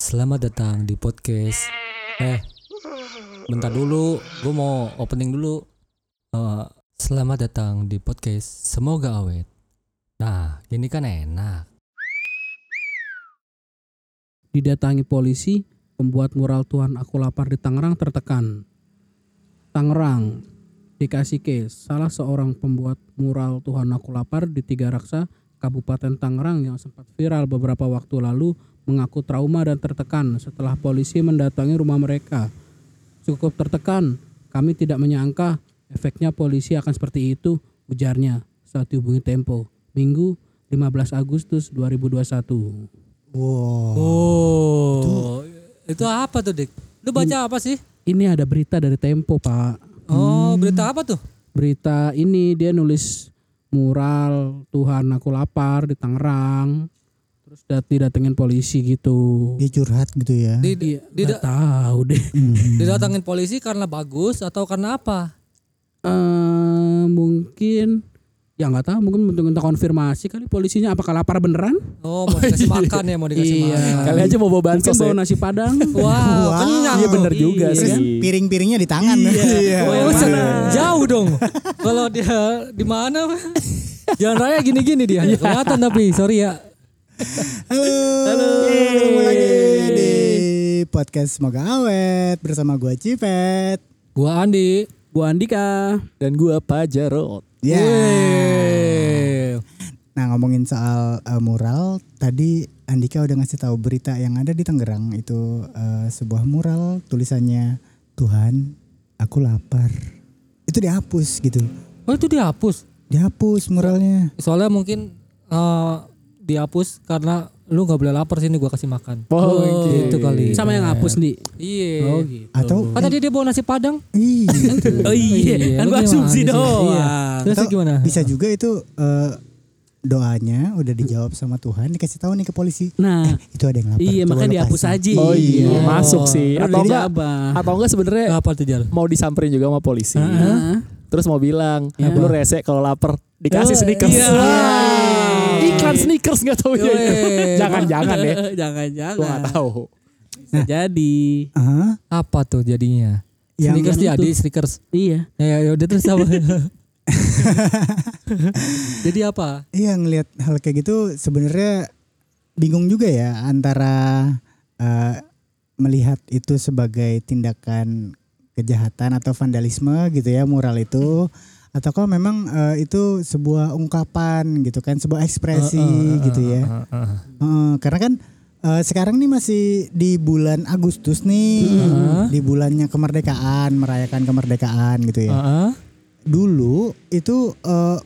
Selamat datang di podcast. Eh, bentar dulu, gue mau opening dulu. Eh, selamat datang di podcast. Semoga awet. Nah, ini kan enak. didatangi polisi, pembuat mural Tuhan Aku Lapar di Tangerang tertekan. Tangerang, dikasih case, salah seorang pembuat mural Tuhan Aku Lapar di Tiga Raksa, Kabupaten Tangerang yang sempat viral beberapa waktu lalu mengaku trauma dan tertekan setelah polisi mendatangi rumah mereka. Cukup tertekan, kami tidak menyangka efeknya polisi akan seperti itu, ujarnya saat dihubungi Tempo, Minggu 15 Agustus 2021. Wow. Oh, itu, apa tuh, Dik? Lu baca apa sih? Ini ada berita dari Tempo, Pak. Hmm, Oh, berita apa tuh? Berita ini dia nulis mural Tuhan aku lapar di Tangerang. Terus dat didatengin polisi gitu. Dia curhat gitu ya. Di, Iya, di- nggak tahu deh. didatangin polisi karena bagus atau karena apa? Eh, mungkin ya nggak tahu mungkin bentuk bentuk konfirmasi kali polisinya apakah lapar beneran? Iya. Oh, mau dikasih makan ya, mau dikasih makan. Kali aja mau bawa bahan Mungkin sos bawa ya. nasi padang. Wow, Wow. kenyang. Iya bener Iya. juga Terus sih. Piring-piringnya di tangan. Oh, iya, yang pesen jauh dong. Kalau dia di mana? Jalan raya gini-gini dia. Nggak Kelihatan tapi sorry ya. Halo. Yeay, Ketemu lagi di podcast Semoga Awet bersama gua Cipet. Gua Andi. Bu Andika. Dan gua Pajaro. Ya. Eh, Nah, ngomongin soal eh, mural, tadi Andika udah ngasih tahu berita yang ada di Tangerang itu eh, sebuah mural tulisannya Tuhan, aku lapar. Itu dihapus gitu. Oh itu dihapus. Dihapus muralnya. Soalnya mungkin eh, dihapus karena lu nggak boleh lapar sini gua kasih makan. Oh, gitu kali. Sama yang hapus nih. Iya. Oh gitu. Atau Kan tadi dia bawa nasi padang. Ih. Oh Iya, iya, kan lu gua gimana asumsi sih? Iya. doang. Terus Atau gimana? Bisa juga itu eh, doanya udah dijawab sama Tuhan dikasih tahu nih ke polisi. Nah, Itu ada yang lapar. iya coba makanya lo dihapus kasih. aja. Oh iya, masuk sih. Terus Atau enggak dijabah. atau enggak sebenarnya Apa tuh Jal? mau disamperin juga sama polisi. Heeh. Terus mau bilang, lu rese kalau lapar dikasih Oh, sneakers. iya. Iklan sneakers nggak tahu ya. itu. Yoi. Jangan-jangan ya. Gua Jangan-jangan. nggak tahu. Bisa jadi. Hah? Apa tuh jadinya? Yang- sneakers yang jadi itu. sneakers. Iya. Ya, ya udah terus apa? Jadi apa? Iya ngelihat hal kayak gitu sebenarnya bingung juga ya antara eh, melihat itu sebagai tindakan kejahatan atau vandalisme gitu ya mural itu ataukah memang eh, itu sebuah ungkapan gitu kan sebuah ekspresi gitu ya. Heeh, karena kan eh, sekarang nih masih di bulan Agustus nih, di bulannya kemerdekaan, merayakan kemerdekaan gitu ya. Heeh. Dulu itu eh,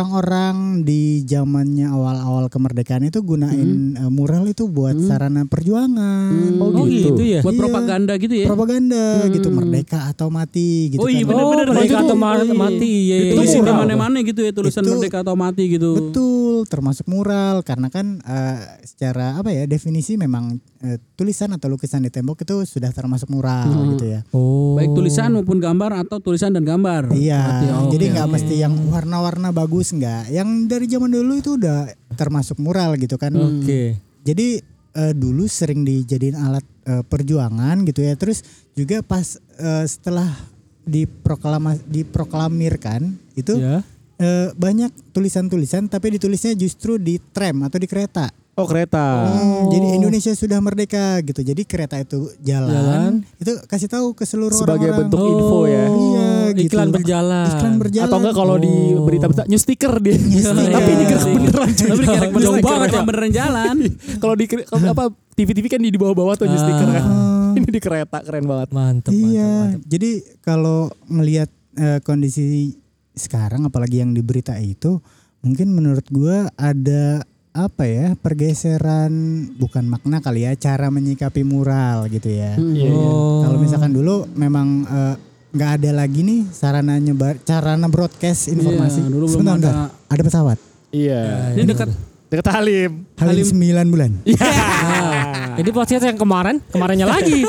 orang-orang di zamannya awal-awal kemerdekaan itu gunain eh, mural itu buat sarana perjuangan, Oh, Oh gitu. gitu ya. Buat Iya. propaganda gitu ya. propaganda gitu merdeka atau mati gitu Oh, kan. iya, bener. Bener-bener, oh, mereka begitu. atau ma- Iya. mati iya. iya. Itu Iya. di mana-mana gitu ya tulisan Itu- merdeka atau mati gitu. Betul, termasuk mural karena kan eh, secara apa ya definisi memang eh, tulisan atau lukisan di tembok itu sudah termasuk mural gitu ya. Oh. Baik tulisan maupun gambar atau tulisan dan gambar. Iya, Berarti, oh, jadi oke, nggak oke. mesti yang warna-warna bagus nggak. Yang dari zaman dulu itu udah termasuk mural gitu kan. Oke. Jadi eh, dulu sering dijadiin alat eh, perjuangan gitu ya. Terus juga pas eh, setelah diproklama- diproklamirkan itu Iya. Ya. eh, banyak tulisan-tulisan tapi ditulisnya justru di tram atau di kereta. Oh kereta. Hmm, jadi Indonesia sudah merdeka gitu. Jadi kereta itu jalan, itu kasih tahu ke seluruh Sebagai orang-orang. bentuk info ya. Iya, gitu. Oh, Iklan berjalan. Iklan berjalan. Atau enggak kalau di Oh. berita-berita new sticker dia. Tapi ini gerak Iya. beneran cuy. Tapi kerek New jauh sticker banget ya. yang beneran jalan. Kalau di kalau apa TV-TV kan di di bawah-bawah tuh new sticker kan. Ini di kereta keren banget. Mantep, iya. mantep, mantep. Jadi kalau ngelihat eh, kondisi sekarang apalagi yang di berita itu mungkin menurut gua ada apa ya pergeseran bukan makna kali ya cara menyikapi mural gitu ya. Hmm, iya, Oh. Kalau misalkan dulu memang eh, nggak ada lagi nih sarana nyebar sarana broadcast informasi. Iya, dulu belum Sebentar, ada. bentar. ada pesawat. Iya. Ini dekat Dekat Halim. Halim 9 bulan. Ah, Ini podcast yang kemarin, kemarinnya lagi.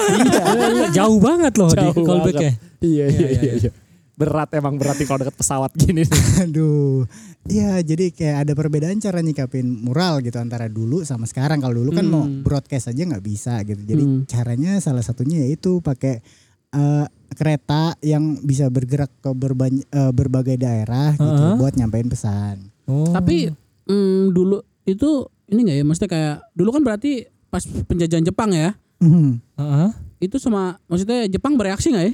Jauh banget loh Oh, Jauh di callback ya. banget. Iya, iya, iya, iya, iya. Berat emang berat nih kalau dekat pesawat gini. nih. Aduh. Iya, jadi kayak ada perbedaan cara nyikapin mural gitu antara dulu sama sekarang. Kalau dulu kan Hmm. mau broadcast aja nggak bisa gitu. Jadi Hmm. caranya salah satunya yaitu pakai eh, kereta yang bisa bergerak ke berban- eh, berbagai daerah gitu Uh-uh. buat nyampein pesan. Oh. Tapi mm, dulu itu ini nggak ya? Maksudnya kayak dulu kan berarti pas penjajahan Jepang ya? Mhm. Heeh. Itu sama maksudnya Jepang bereaksi nggak ya?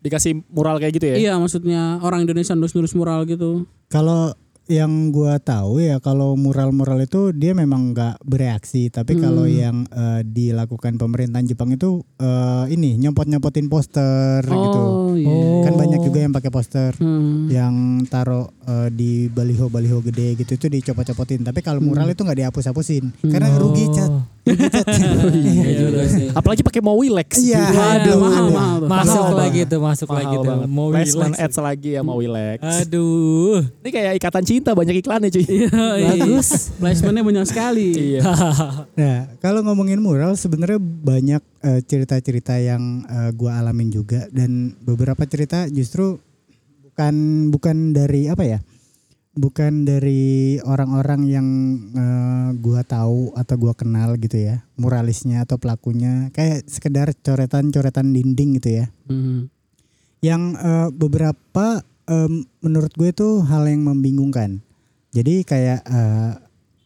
Dikasih mural kayak gitu ya? Iya maksudnya orang Indonesia nulis-nulis mural gitu. Kalau yang gua tahu ya kalau mural-mural itu dia memang nggak bereaksi, tapi kalau Hmm. yang eh, dilakukan pemerintahan Jepang itu eh, ini nyopot-nyopotin poster gitu. Oh iya. Oh. Kan banyak juga yang pakai poster. Hmm. yang taruh eh, di baliho-baliho gede gitu itu dicopot-copotin. Tapi Hmm. kalau mural itu nggak dihapus-hapusin karena rugi cat. Oh. Rugi cat. Iya juga sih. Apalagi pakai mau wilex. Iya, Waduh, aduh, mahal, aduh. mahal Masuk tuh. Mahal lagi banget. tuh, masuk lagi Mahal tuh. banget. Mau Placement relax. ads lagi ya mau wilex. Aduh. Iya. Ini kayak ikatan cinta banyak iklannya cuy. Iya. Bagus. Iya. Placementnya banyak sekali. Nah, kalau ngomongin mural sebenarnya banyak eh, cerita-cerita yang eh, gua alamin juga dan beberapa cerita justru bukan bukan dari apa ya? Bukan dari orang-orang yang eh, gua tahu atau gua kenal gitu ya, muralisnya atau pelakunya kayak sekedar coretan-coretan dinding gitu ya. Hmm. yang eh, beberapa em, menurut gue itu hal yang membingungkan. Jadi kayak eh,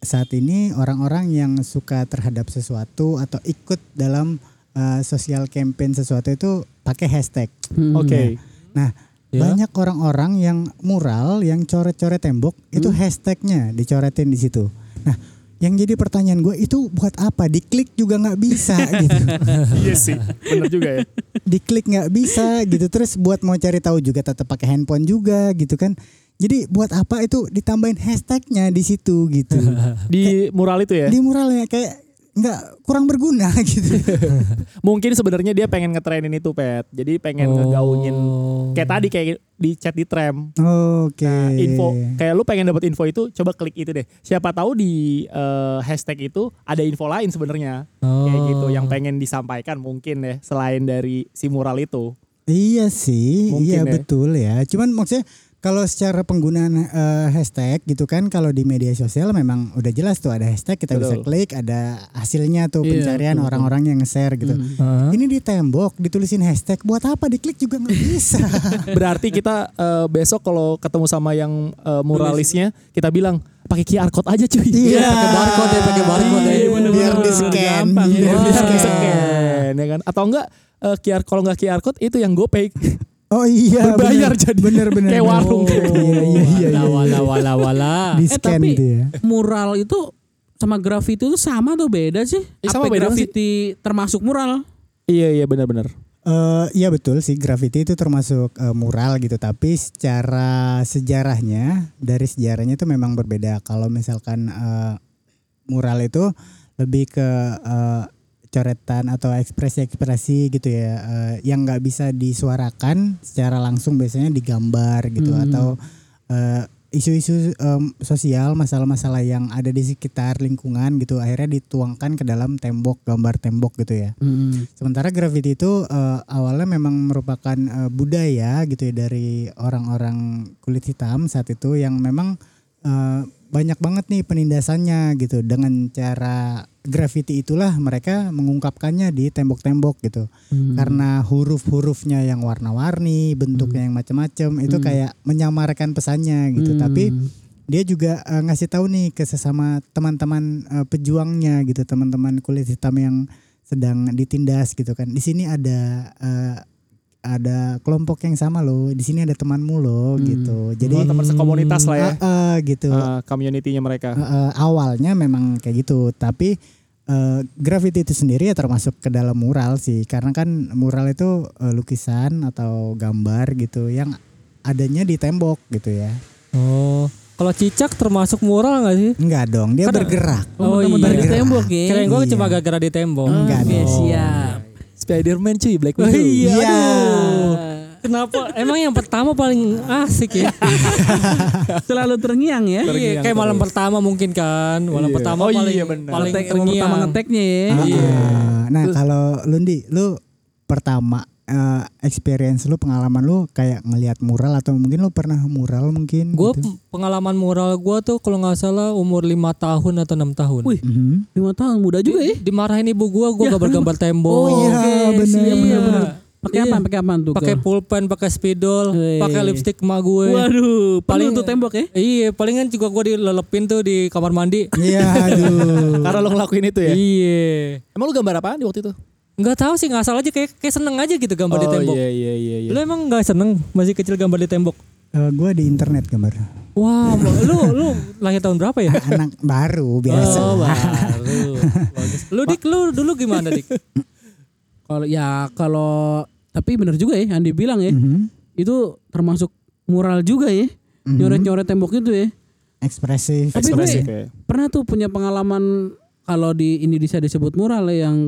saat ini orang-orang yang suka terhadap sesuatu atau ikut dalam eh, sosial campaign sesuatu itu pakai hashtag. Hmm. Oke. Ya. Banyak orang-orang yang mural, yang coret-coret tembok itu hashtagnya dicoretin di situ. Nah, yang jadi pertanyaan gue itu buat apa? Diklik juga nggak bisa gitu. Iya sih. Bener juga ya. diklik nggak bisa gitu terus buat mau cari tahu juga tetap pakai handphone juga gitu kan jadi buat apa itu ditambahin hashtagnya di situ gitu Di mural itu ya. di muralnya kayak nggak kurang berguna gitu Mungkin sebenarnya dia pengen ngetrenin itu pet. Jadi Oh. pengen ngegaungin kayak tadi kayak di chat di tram. oke Nah, info kayak lu pengen dapat info itu coba klik itu deh. Siapa tahu di eh, hashtag itu ada info lain sebenarnya. Kayak gitu yang pengen disampaikan mungkin ya selain dari si mural itu. iya sih Mungkin iya ya. betul ya cuman maksudnya kalau secara penggunaan eh, hashtag gitu kan kalau di media sosial memang udah jelas tuh ada hashtag kita bisa Betul. klik ada hasilnya tuh Iya, betul, pencarian betul. orang-orang yang nge-share gitu Hmm. Heeh. ini di tembok ditulisin hashtag buat apa diklik juga nggak bisa Berarti kita eh, besok kalau ketemu sama yang eh, muralisnya kita bilang pakai QR code aja cuy. Iya. pakai barcode ya, pakai barcode ya. Iya, bener-bener. Biar di-scan. Gampang, Biar ya. Biar Wah. di-scan, ya kan? Atau enggak eh, QR kalau enggak QR code itu yang GoPay. Oh iya. Berbayar jadi. Bener bener. Kayak bener. warung. Iya iya iya. iya. Wala wala wala. Di Eh, scan tapi- gitu ya. Mural itu sama graffiti itu sama atau Eh, beda sih? Ih, sama Apa beda graffiti termasuk mural? iya iya benar-benar. Eh, iya betul sih graffiti itu termasuk eh, mural gitu tapi secara sejarahnya dari sejarahnya itu memang berbeda kalau misalkan eh, mural itu lebih ke eh, coretan atau ekspresi-ekspresi gitu ya eh, yang nggak bisa disuarakan secara langsung biasanya digambar gitu Hmm. atau eh, isu-isu em, sosial masalah-masalah yang ada di sekitar lingkungan gitu akhirnya dituangkan ke dalam tembok gambar tembok gitu ya Sementara graffiti itu eh, awalnya memang merupakan eh, budaya gitu ya dari orang-orang kulit hitam saat itu yang memang eh, banyak banget nih penindasannya gitu dengan cara graffiti itulah mereka mengungkapkannya di tembok-tembok gitu Hmm. karena huruf-hurufnya yang warna-warni bentuknya yang macam-macam itu Hmm. kayak menyamarkan pesannya gitu Hmm. tapi dia juga eh, ngasih tahu nih ke sesama teman-teman eh, pejuangnya gitu teman-teman kulit hitam yang sedang ditindas gitu kan di sini ada eh, ada kelompok yang sama loh di sini ada temanmu loh Hmm. gitu jadi Oh, teman sekomunitas lah ya. eh, eh, gitu Eh, community-nya mereka. Eh, eh, awalnya memang kayak gitu tapi eh, graffiti itu sendiri ya termasuk ke dalam mural sih karena kan mural itu eh, lukisan atau gambar gitu yang adanya di tembok gitu ya Oh, kalau cicak termasuk mural nggak sih? enggak dong dia bergerak Oh, iya. teman-teman dari Bergerak. tembok ya. Keren gue Iya. cuma gara-gara Gitu. di tembok. Oh, Enggak oke, dong. siap. Spider-Man cuy, Black Oh, Widow. iya. Iya. aduh. Kenapa? Emang yang pertama paling asik ya. Selalu terngiang ya. Iya, kayak malam pertama mungkin kan. Malam Iya. pertama Oh, iya, paling benar. paling Ngetek, emang pertama terngiang. ngeteknya ya. Ah, ah. Nah kalau Lundi, lu pertama eh, experience lu, pengalaman lu kayak ngelihat mural atau mungkin lu pernah mural mungkin Gue gitu. pengalaman mural gue tuh kalau nggak salah umur lima tahun atau enam tahun. Wih, Mhm. lima tahun muda juga ya. Dimarahin ibu gue, gue Ya, gambar-gambar tembok. Oh iya, Oke, bener, iya. bener, bener. Pakai Iya. apa? Pakai apa tuh? Pakai Kak? pulpen, pakai spidol, Wih. pakai lipstick emak gue. Waduh, Paling- paling untuk tembok ya. Iya, palingan juga gue dilelepin tuh di kamar mandi. Iya, aduh. Karena lo ngelakuin itu ya. Iya. Emang lu gambar apaan di waktu itu? Nggak tahu sih, nggak salah aja kayak kayak seneng aja gitu gambar di tembok. iya iya iya. iya. Lu emang nggak seneng masih kecil gambar di tembok? Eh, gua di internet gambar. Wah, lu lu lahir tahun berapa ya? Anak baru biasa. Oh, baru. Bagus. Lu dik, lu dulu gimana dik? Kalau ya kalau tapi bener juga ya yang dibilang ya. Mhm. Itu termasuk mural juga ya. Nyoret-nyoret tembok itu ya. Ekspresif. Tapi gue- Ekspresif ya. Pernah tuh punya pengalaman kalau di Indonesia disebut mural ya, yang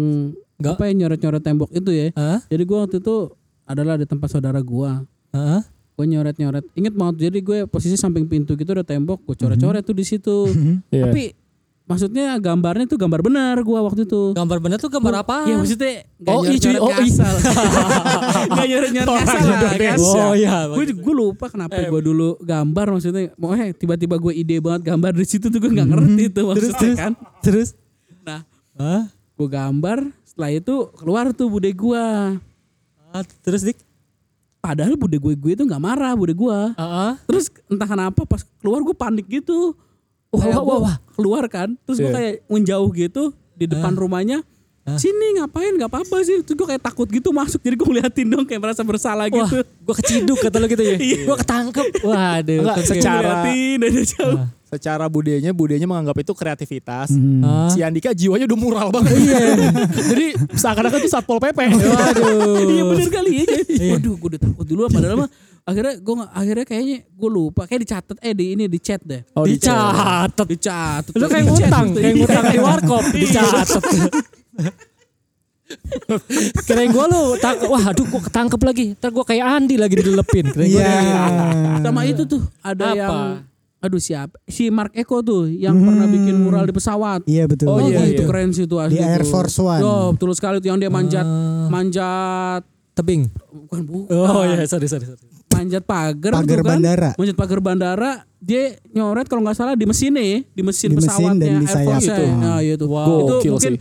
Nggak. apa ya nyoret-nyoret tembok itu ya. Hah? Jadi gua waktu itu adalah di tempat saudara gua. Hah? Gue nyoret-nyoret. Ingat banget jadi gue posisi samping pintu gitu ada tembok, gue coret-coret tuh di situ. Iya. Tapi maksudnya gambarnya tuh gambar benar gua waktu itu. Gambar bener tuh gambar apa? Ya maksudnya nggak Oh, iya, cuy. nyoret-nyoret Oh, iya. kasar. Nggak nyoret-nyoret kasar lah, kasar. Oh iya. Eh, Gue gue lupa kenapa gue dulu gambar maksudnya, mau eh tiba-tiba gue ide banget gambar di situ tuh gue nggak ngerti itu maksudnya kan. Hmm. Terus? Nah Hah? gue gambar, setelah itu keluar tuh bude gue. Ah, terus dik? Padahal bude gue gue itu nggak marah bude gue. Heeh. Terus entah kenapa pas keluar gue panik gitu. Wah, Wah, wah, wah, wah. Keluar kan. Terus gue Iya. kayak menjauh gitu di depan Ah. rumahnya. Sini ngapain nggak apa-apa sih. Terus gue kayak takut gitu masuk. Jadi gue ngeliatin dong kayak merasa bersalah Wah, gitu. gue keciduk kata lu gitu ya. gue ketangkep. Waduh. Enggak, kecil. Ah. secara- Ngeliatin dari jauh. Secara budenya, budenya menganggap itu kreativitas. Hah? Si Andika jiwanya udah mural banget. Jadi seakan-akan itu satpol pp. Waduh. Iya bener kali ya. Jadi, Iya. Waduh gue udah takut dulu. Padahal mah akhirnya gue nggak- akhirnya kayaknya gue lupa kayak dicatat eh di ini di chat deh Oh, di chat. dicatat dicatat gitu. Lu kayak ngutang, Iya. kayak ngutang di warkop, dicatat. Kirain gue lu, tak- wah aduh gue ketangkep lagi. Ntar gue kayak Andi lagi dilepin. Kirain gua Iya. sama itu tuh ada Apa? yang aduh siapa si Mark Eko tuh yang pernah bikin mural di pesawat Hmm. Iya betul. Oh, iya, itu iya. keren sih tuh asli Di Air tuh. Force One. Yo, betul sekali tuh yang dia manjat manjat tebing. bukan ah, bukan Ah. Oh iya, sorry, sorry, sorry. manjat pagar Pagar tuh kan. bandara. manjat pagar bandara dia nyoret kalau nggak salah di mesinnya ya, di mesin Di mesin pesawatnya dan di Air Force sayap. itu Gitu. nah, iya tuh. Wow. itu Gokil mungkin sih.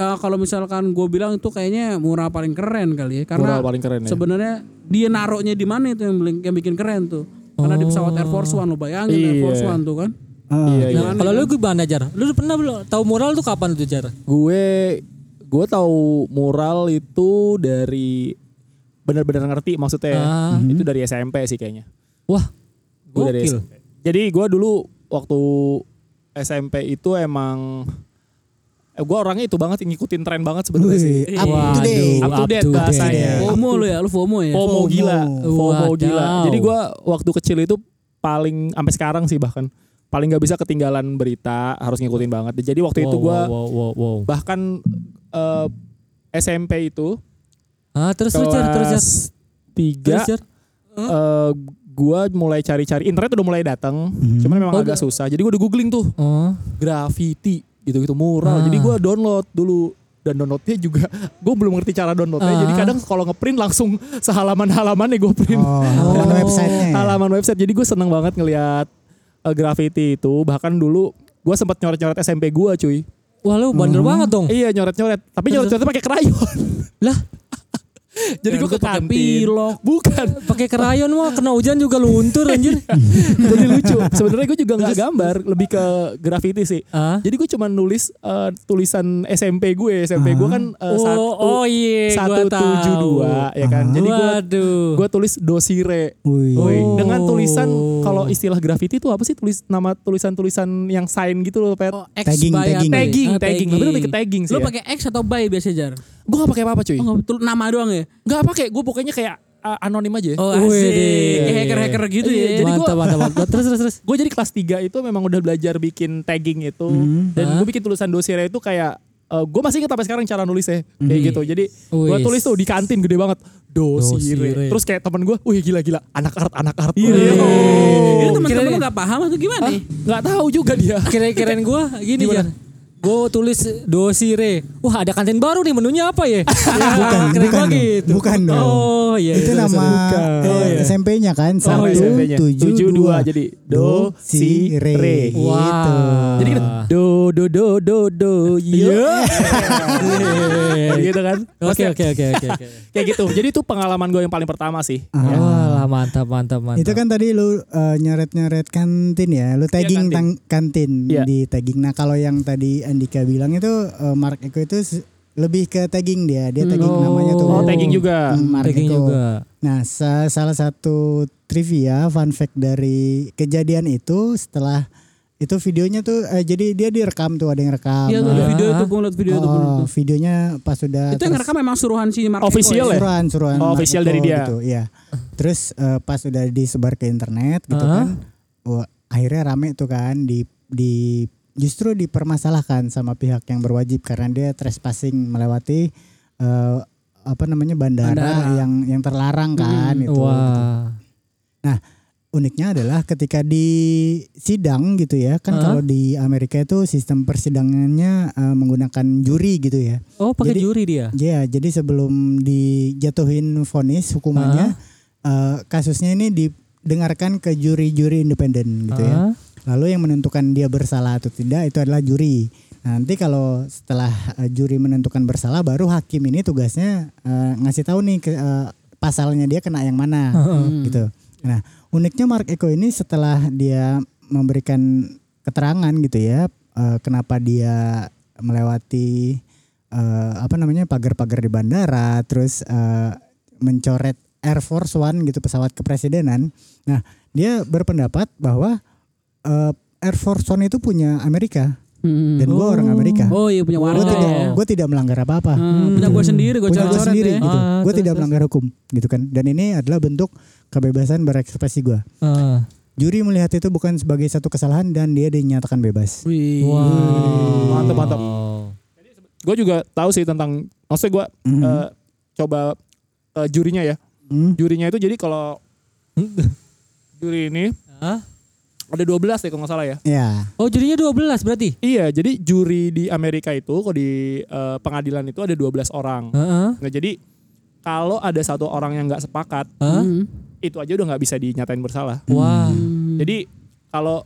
eh, kalau misalkan gue bilang itu kayaknya mural paling keren kali ya karena Mural paling keren ya. sebenarnya dia naroknya di mana itu yang, beli- yang bikin keren tuh karena di pesawat Air Force One lo bayangin Air Iya. Force One tuh kan Iya, iya. Nah, kalau lu gimana Jar? Lu pernah belum tahu mural tuh kapan tuh Jar? Gue gue tahu mural itu dari benar-benar ngerti maksudnya. ya. Ah. Itu dari SMP sih kayaknya. Wah, Gue dari gokil. SMP. Jadi gue dulu waktu SMP itu emang eh, gue orangnya itu banget ngikutin tren banget sebenarnya sih. Iya. Wih, up to date. Up to date bahasanya. FOMO lo ya lo FOMO ya FOMO FOMO. gila, FOMO Iya. Wadaw. gila. Jadi gua waktu kecil itu paling sampai sekarang sih bahkan paling nggak bisa ketinggalan berita, harus ngikutin banget. Jadi waktu itu gua wow, wow, wow. bahkan eh, SMP itu Ah, terus lu Jar, terus Jar. kelas tiga Terus Jar. eh, gua mulai cari-cari internet udah mulai datang, cuman memang Oh, agak susah. Jadi gua udah googling tuh Oh. graffiti gitu-gitu mural. Ah. Jadi gua download dulu dan downloadnya juga gue belum ngerti cara downloadnya. Jadi Ah. kadang kalau ngeprint langsung sehalaman halamannya gue print. Oh, halaman websitenya. ya? halaman website. Jadi gue seneng banget ngelihat eh, graffiti itu. Bahkan dulu gue sempat nyoret-nyoret SMP gue cuy. Wah, lu bandel banget dong. Iya nyoret-nyoret. Tapi nyoret-nyoretnya pakai krayon. Lah, Iya, Nah, Jadi gue ke Jangan pakai kantin. pilok. Bukan. pakai krayon mah kena hujan juga luntur anjir. Jadi lucu. Sebenarnya gue juga nggak gambar. Lebih ke graffiti sih. Ah. Jadi gue cuman nulis eh, tulisan SMP gue. SMP gue kan eh, Oh, satu oh iya, satu gua tahu. tujuh dua ya kan. Jadi gue Waduh. Iya, gue tulis dosire. Wih. Woi, dengan Oh. tulisan kalau istilah graffiti itu apa sih tulis nama tulisan-tulisan yang sign gitu loh, Pet. Oh, X Tagging, by tagging. apa ya? Tagging, Ah, tagging. Tapi lebih ke tagging sih Lo ya. pakai X atau by biasa jar? Gue gak pakai apa-apa cuy. Oh, nggak betul nama doang ya? Gak pakai, gue pokoknya kayak uh, anonim aja. Oh Wih, asik, deh. Kayak hacker-hacker gitu ya. Iya, Jadi mantap, gua- mantap, mantap. Terus, terus, terus. Gue jadi kelas 3 itu memang udah belajar bikin tagging itu dan gue bikin tulisan dosirnya itu kayak gue masih ingat sampai sekarang cara nulisnya kayak gitu. Jadi gue Wis. tulis tuh di kantin gede banget dosire. Dosire. Terus kayak temen gue, wih gila-gila anak art anak art. Ini Iya. teman-teman lo nggak paham atau gimana? Gak tahu juga dia. Kirain-kirain gue gini Jar. gue tulis dosire. Wah ada kantin baru nih menunya apa ya? Bukan, keren bukan banget dong. gitu. Bukan dong. Oh iya. itu iya, nama bukan. Oh, eh, iya. SMP-nya kan satu SMP-nya. tujuh dua jadi do si re. Wah. gitu. Jadi kita do do do do do yo. gitu kan. Oke Iya, oke oke oke. oke. Kayak gitu. Jadi itu pengalaman gue yang paling pertama sih. Ah. Wah lah, mantap mantap mantap. Itu kan tadi lu eh, nyeret-nyeret kantin ya, lu tagging kantin. tang- kantin Iya. di tagging. Nah kalau yang tadi Andika bilang itu eh, Mark Eko itu se- lebih ke tagging dia, dia tagging Oh. namanya tuh. gitu. Oh, tagging juga. Hmm, Mark Tagging Eko. juga. Nah sa- salah satu trivia fun fact dari kejadian itu setelah itu videonya tuh eh, jadi dia direkam tuh ada yang rekam. Nah. Iya, gue Ah. liat video itu, gue liat video itu. gua liat Oh, itu. videonya pas sudah Itu yang terus- ngerekam memang suruhan si Mark Official ya? suruhan suruhan Oh, official Marco dari dia. gitu, iya. terus eh, pas udah disebar ke internet gitu Heeh. kan wah, akhirnya rame tuh kan di di justru dipermasalahkan sama pihak yang berwajib karena dia trespassing melewati eh, apa namanya bandara, Bandara. yang yang terlarang kan Hmm, itu Wah. uniknya adalah ketika di sidang gitu ya kan Heeh. kalau di Amerika itu sistem persidangannya eh, menggunakan juri gitu ya Oh pakai Jadi- juri dia. Iya, jadi sebelum dijatuhin vonis hukumannya, eh, kasusnya ini didengarkan ke juri-juri independen gitu Ah, ya. Lalu yang menentukan dia bersalah atau tidak itu adalah juri. Nah, nanti kalau setelah eh, juri menentukan bersalah, baru hakim ini tugasnya eh, ngasih tahu nih ke, eh, pasalnya dia kena yang mana gitu. Nah, uniknya Mark Eko ini setelah dia memberikan keterangan gitu ya, eh, kenapa dia melewati eh, apa namanya pagar-pagar di bandara, terus eh, mencoret Air Force One gitu pesawat kepresidenan. Nah, dia berpendapat bahwa eh, Air Force One itu punya Amerika dan gue orang Hmm. Amerika. Hmm. Oh iya punya Gue warga tidak, ya. gue tidak melanggar apa-apa Hmm, Punya gue sendiri, gue Ah. punya gue coret-coret sendiri ya. gitu. Ah, gue terus, tidak terus. melanggar hukum gitu kan. Dan ini adalah bentuk kebebasan berekspresi gue. ah. Juri melihat itu bukan sebagai satu kesalahan dan dia dinyatakan bebas. Wih. Wah. Mantap, mantap. Gue juga tahu sih tentang maksudnya gue Hmm. Mhm. eh, coba eh, jurinya ya. Hmm. Jurinya itu jadi kalau juri ini Hah? ada 12 deh kalau nggak salah ya. Ya. Oh jurinya 12 berarti? Iya, jadi juri di Amerika itu kalau di eh, pengadilan itu ada 12 orang. Heeh. Nah, jadi kalau ada satu orang yang nggak sepakat, Hah? Hmm. itu aja udah nggak bisa dinyatain bersalah. Wah. Jadi kalau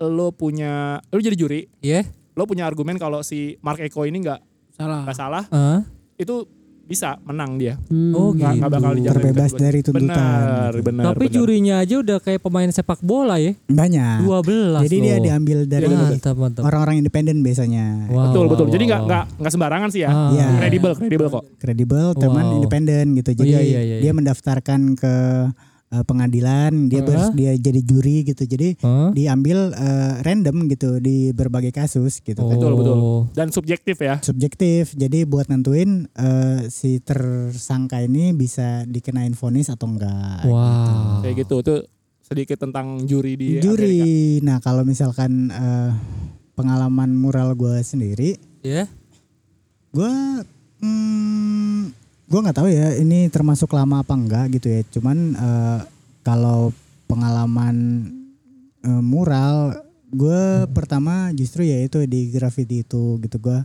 lo punya lo jadi juri, Ya. lo punya argumen kalau si Mark Eko ini nggak Salah. nggak salah, Ah. itu bisa menang dia. Hmm. Oh, Nggak nggak bakal Gitu. dijatuhin. Terbebas dari tuntutan. gitu. Benar, benar. Tapi benar. jurinya aja udah kayak pemain sepak bola ya. Banyak. 12 Nah, Jadi dia diambil dari mantap mantap. orang-orang independen Wah, biasanya. Iya, betul wah, betul. wah, Jadi nggak wah. nggak nggak sembarangan sih ya. Ah. Iya. Kredibel, kredibel kok. Kredibel, teman Wow. independen gitu. Jadi iya, iya, iya. dia mendaftarkan ke eh, pengadilan, dia ber- Hah? dia jadi juri gitu. Jadi Hah? diambil eh, random gitu di berbagai kasus gitu kan. Betul, betul. Oh. Dan subjektif ya. subjektif. Jadi buat nentuin eh, si tersangka ini bisa dikenain vonis atau enggak. Wow. Kayak gitu. Itu sedikit tentang juri di Amerika. Juri. Nah, kalau misalkan eh, pengalaman mural gue sendiri, Ya. gue hmm, gue nggak tahu ya ini termasuk lama apa enggak gitu ya. Cuman eh, kalau pengalaman eh, mural gue pertama justru ya itu di graffiti itu gitu gue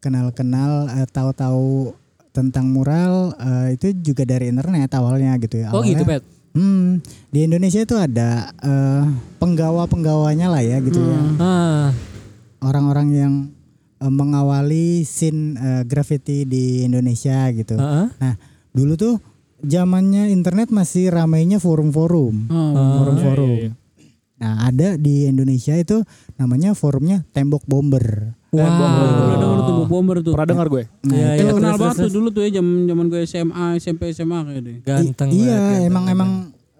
kenal-kenal eh, tahu-tahu tentang mural eh, itu juga dari internet awalnya gitu ya. Oh gitu, Awalnya- Pet. Hmm, di Indonesia itu ada eh, penggawa-penggawanya lah ya gitu ya. Ah. Orang-orang yang eh, mengawali scene eh, graffiti di Indonesia gitu. Heeh. Nah, dulu tuh zamannya internet masih ramainya forum-forum. Oh. Forum-forum. Iya, iya, iya. Nah, ada di Indonesia itu namanya forumnya Tembok Bomber. Wow. Gue udah denger tuh Bob bomber tuh. Pernah dengar gue? Nah, Iya, itu iya, Kenal terus, banget terus, tuh dulu tuh ya zaman zaman gue SMA, SMP, SMA kayak deh. Ganteng I- iya ya, banget, emang ganteng emang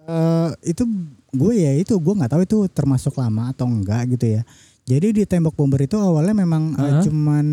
eh, itu gue ya itu gue nggak tahu itu termasuk lama atau enggak gitu ya jadi di tembok bomber itu awalnya memang eh, cuman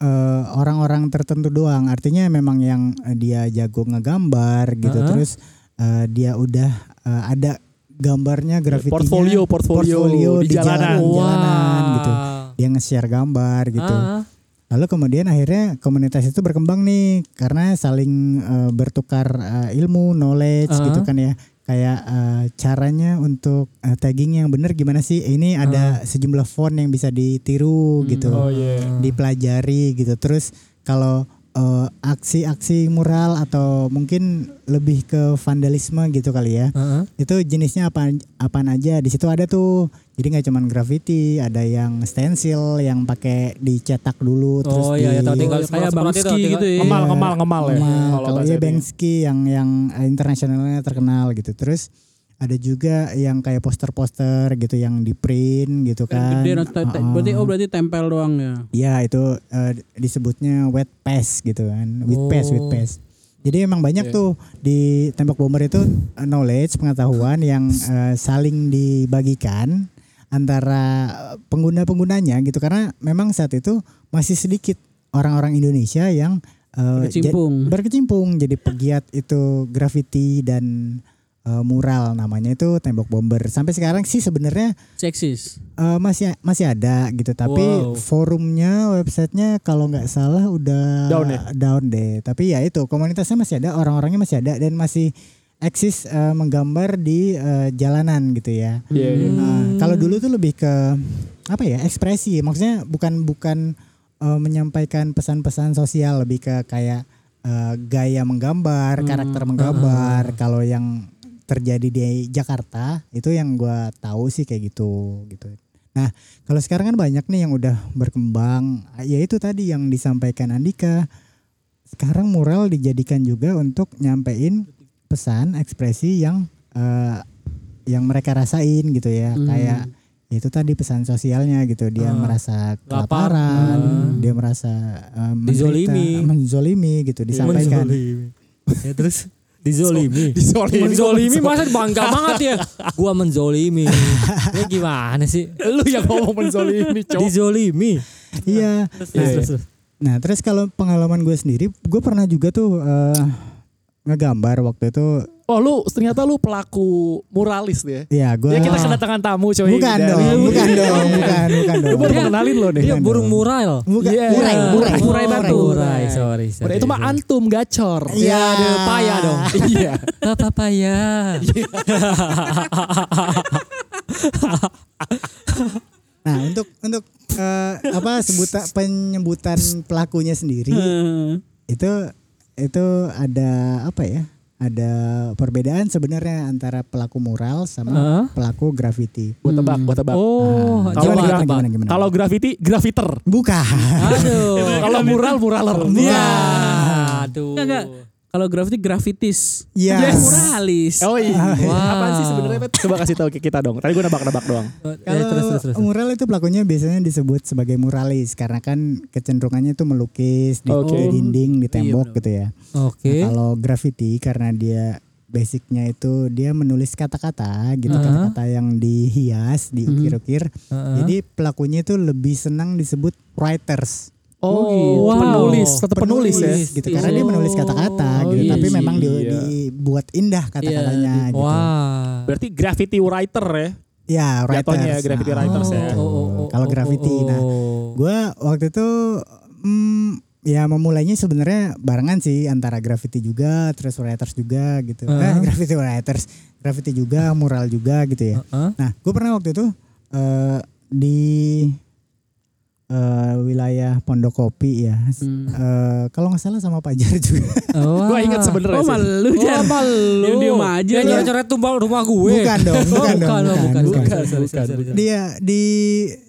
eh, orang-orang tertentu doang artinya memang yang eh, dia jago ngegambar gitu Heeh. terus eh, dia udah eh, ada gambarnya grafitinya Ya, Portfolio, portfolio, di jalanan. banget. jalanan gitu Wah. dia nge-share gambar gitu Ah. Lalu kemudian akhirnya komunitas itu berkembang nih karena saling eh, bertukar eh, ilmu, knowledge Ah. gitu kan ya. kayak eh, caranya untuk eh, tagging yang benar gimana sih? Ini ada sejumlah font yang bisa ditiru gitu, Oh iya. dipelajari gitu. Terus kalau eh, aksi-aksi mural atau mungkin lebih ke vandalisme gitu kali ya. Heeh. Itu jenisnya apa apaan aja? Di situ ada tuh. Jadi nggak cuman graffiti, ada yang stencil yang pakai dicetak dulu terus oh iya, ya, di- tahu tinggal Kayak semprot- semprot Bang itu, Ski tinggal- gitu ya. Kemal, kemal, kemal ya. Nah, Kalau kalau bahasa ya ini. Banksy yang yang eh, internasionalnya terkenal gitu. Terus ada juga yang kayak poster-poster gitu yang di print gitu kan. Gede, nanti te- te- Heeh. berarti oh berarti tempel doang ya. Iya itu eh, disebutnya wet pass gitu kan, wet pass, wet Oh. pass. Jadi emang Oke. banyak tuh di tembok bomber itu eh, knowledge pengetahuan yang eh, saling dibagikan antara pengguna penggunanya gitu karena memang saat itu masih sedikit orang-orang Indonesia yang eh, ja- Kecimpung. berkecimpung jadi pegiat itu graffiti dan eh, mural namanya itu tembok bomber sampai sekarang sih sebenarnya Seksis. eh, masih masih ada gitu tapi Wow. forumnya websitenya kalau nggak salah udah Down ya? down deh tapi ya itu komunitasnya masih ada orang-orangnya masih ada dan masih eksis eh, menggambar di eh, jalanan gitu ya Iya, iya. Nah, kalau dulu tuh lebih ke apa ya ekspresi maksudnya bukan bukan eh, menyampaikan pesan-pesan sosial lebih ke kayak eh, gaya menggambar karakter Hmm. menggambar kalau yang terjadi di Jakarta itu yang gua tahu sih kayak gitu gitu nah kalau sekarang kan banyak nih yang udah berkembang ya itu tadi yang disampaikan Andika sekarang mural dijadikan juga untuk nyampein pesan ekspresi yang eh, yang mereka rasain gitu ya Hmm. kayak itu tadi pesan sosialnya gitu Ah. dia merasa Lapar. kelaparan Ah. dia merasa eh, menderita, Dizolimi. menzolimi gitu disampaikan Menzolimi. ya terus dizolimi. Dizolimi. menzolimi masa bangga banget ya. Gua menzolimi. Ini gimana sih? Lu yang ngomong menzolimi, cowok. Dizolimi. iya Terus, Nah, terus, terus. Nah terus kalau pengalaman gue sendiri, gue pernah juga tuh eh, ngegambar waktu itu. Oh, lu ternyata lu pelaku muralis deh. Ya gue. Ya kita kedatangan tamu, coy. bukan Dari- dong, bukan dong, bukan, bukan Lu dong. baru kenalin lo Dia nih. Bukan Iya. burung dong. mural. Bukan, Iya. murai, murai, Murai, murai batu. Murai, sorry. Udah, itu mah antum gacor. Iya. ada paya dong. Iya. Gak apa-apa ya. Nah untuk untuk eh, apa sebutan penyebutan pelakunya sendiri Hmm. itu itu ada apa ya? Ada perbedaan sebenarnya antara pelaku mural sama Hah? pelaku graffiti. Gua tebak, gua tebak. Oh, Nah, coba gimana, coba. gimana, Hmm. Kalau graffiti, graffiter. bukan. Aduh. Kalau mural, muraler. Iya. Aduh. Enggak, enggak. Kalau graffiti graffitis. Iya. Dia muralis. Oh iya. Wow. Apaan sih sebenarnya? Bet? Coba kasih tahu ke kita dong. Tadi gue nebak-nebak doang. Ya, terus Kalau terus terus. mural itu pelakunya biasanya disebut sebagai muralis karena kan kecenderungannya itu melukis di, Oke. di dinding, di tembok benar. gitu ya. Iya, Oke. Nah, kalau graffiti karena dia basicnya itu dia menulis kata-kata gitu Uh-huh. kata-kata yang dihias, diukir-ukir. Mm-hmm. Heeh. Jadi pelakunya itu lebih senang disebut writers. Oh, gitu. penulis, tetap penulis, ya. gitu karena dia menulis kata-kata Oh, gitu iya tapi memang di- sih, iya. dibuat indah kata-katanya Iya, gitu. Wah. Berarti graffiti writer ya. Ya, writers. Jatuhnya graffiti Nah, writers ya. gitu. Kalau graffiti oh, nah Gue waktu itu mm, ya memulainya sebenarnya barengan sih antara graffiti juga, terus writers juga gitu. Eh, graffiti writers, graffiti juga, mural juga gitu ya. Heeh. Nah, gue pernah waktu itu eh, di eh, wilayah Pondokopi ya. S- Hmm. eh, Kalau nggak salah sama Pak Jar juga. Wah. Gue ingat Oh sebenarnya. sih. malu Oh, Jar. apa lu? Yang diem Yang aja lu. nyoret-nyoret tumbal rumah gue. Bukan dong, Oh, bukan dong, oh, bukan, bukan. bukan. Sorry, sorry, sorry, sorry. Dia di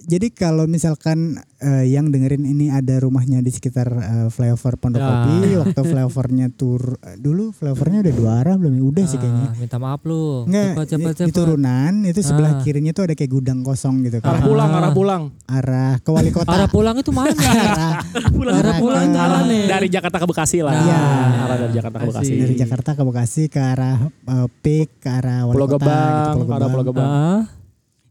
jadi kalau misalkan eh, yang dengerin ini ada rumahnya di sekitar eh, flyover Ya. Pondokopi, waktu flyovernya tur eh, dulu flyovernya udah dua arah belum ya? udah sih kayaknya. Ah, minta maaf lu. Enggak, Cepat cepat di- di cepat. turunan itu sebelah Ah. kirinya tuh ada kayak gudang kosong gitu Arah kan. pulang, arah pulang. Arah ke wali kota. Arah pulang itu mana? Arah- Arah pulang itu arah nih. Dari Jakarta ke Bekasi lah. Iya. Arah dari Jakarta ke Bekasi. Iya. dari Jakarta ke Bekasi ke arah eh, Pik, ke arah wali Pulau kota Gebang, gitu, Pulau arah Pulau Gebang. Gebang. Ah.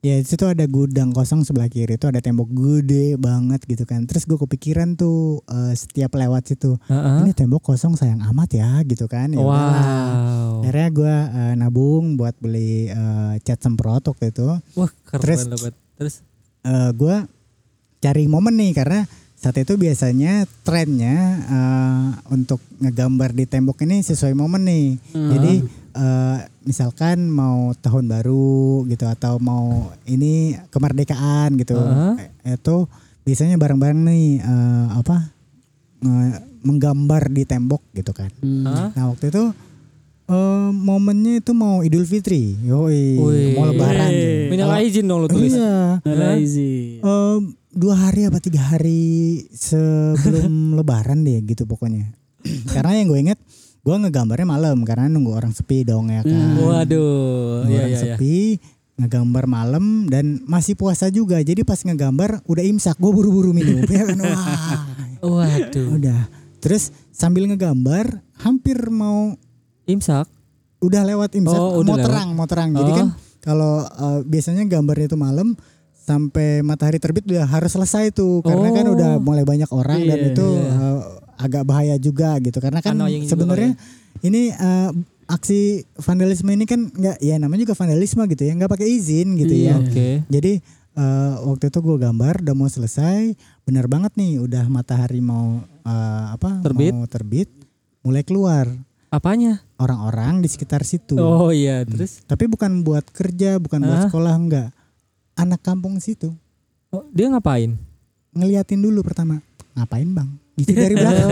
Ya di situ ada gudang kosong sebelah kiri itu ada tembok gede banget gitu kan. Terus gue kepikiran tuh eh, setiap lewat situ Heeh. ini tembok kosong sayang amat ya gitu kan. Ya udahlah. Wow. Akhirnya gue nabung buat beli eh, cat semprot waktu itu. Wah, keren Terus- lu, Bet. Terus eh gue cari momen nih karena saat itu biasanya trennya Hmm. eh, untuk ngegambar di tembok ini sesuai momen nih. Jadi eh, misalkan mau tahun baru gitu atau mau ini kemerdekaan gitu Heeh. Eh, itu biasanya bareng-bareng nih eh, apa nge- menggambar di tembok gitu kan Hah? nah waktu itu eh, momennya itu mau Idul Fitri Wih. yoi Iya, mau Lebaran gitu. Minal izin dong lo tulis. iya Nah, Em, dua hari apa tiga hari sebelum lebaran deh gitu pokoknya karena yang gue inget gue ngegambarnya malam karena nunggu orang sepi dong ya kan Waduh, Nunggu Hmm, oh, iya orang iya iya. sepi ngegambar malam dan masih puasa juga jadi pas ngegambar udah imsak gue buru-buru minum ya kan wah Waduh. udah terus sambil ngegambar hampir mau Imsak. udah lewat imsak Oh, udah mau lewat. terang mau terang jadi Oh. kan kalau eh, biasanya gambarnya itu malam sampai matahari terbit udah harus selesai tuh karena kan Oh. udah mulai banyak orang dan Iya, itu iya. eh, agak bahaya juga gitu karena kan Annoying juga ya. sebenarnya ini eh, aksi vandalisme ini kan nggak ya namanya juga vandalisme gitu ya nggak pakai izin gitu Iya. ya Oke. jadi eh, waktu itu gue gambar udah mau selesai, benar banget nih udah matahari mau eh, apa? Terbit. Mau terbit, mulai keluar Apanya? orang-orang di sekitar situ. Oh iya, terus Tapi bukan buat kerja, bukan buat Ah. sekolah enggak. Anak kampung situ oh, dia ngapain? ngeliatin dulu pertama. Ngapain, Bang? Gitu dari belakang.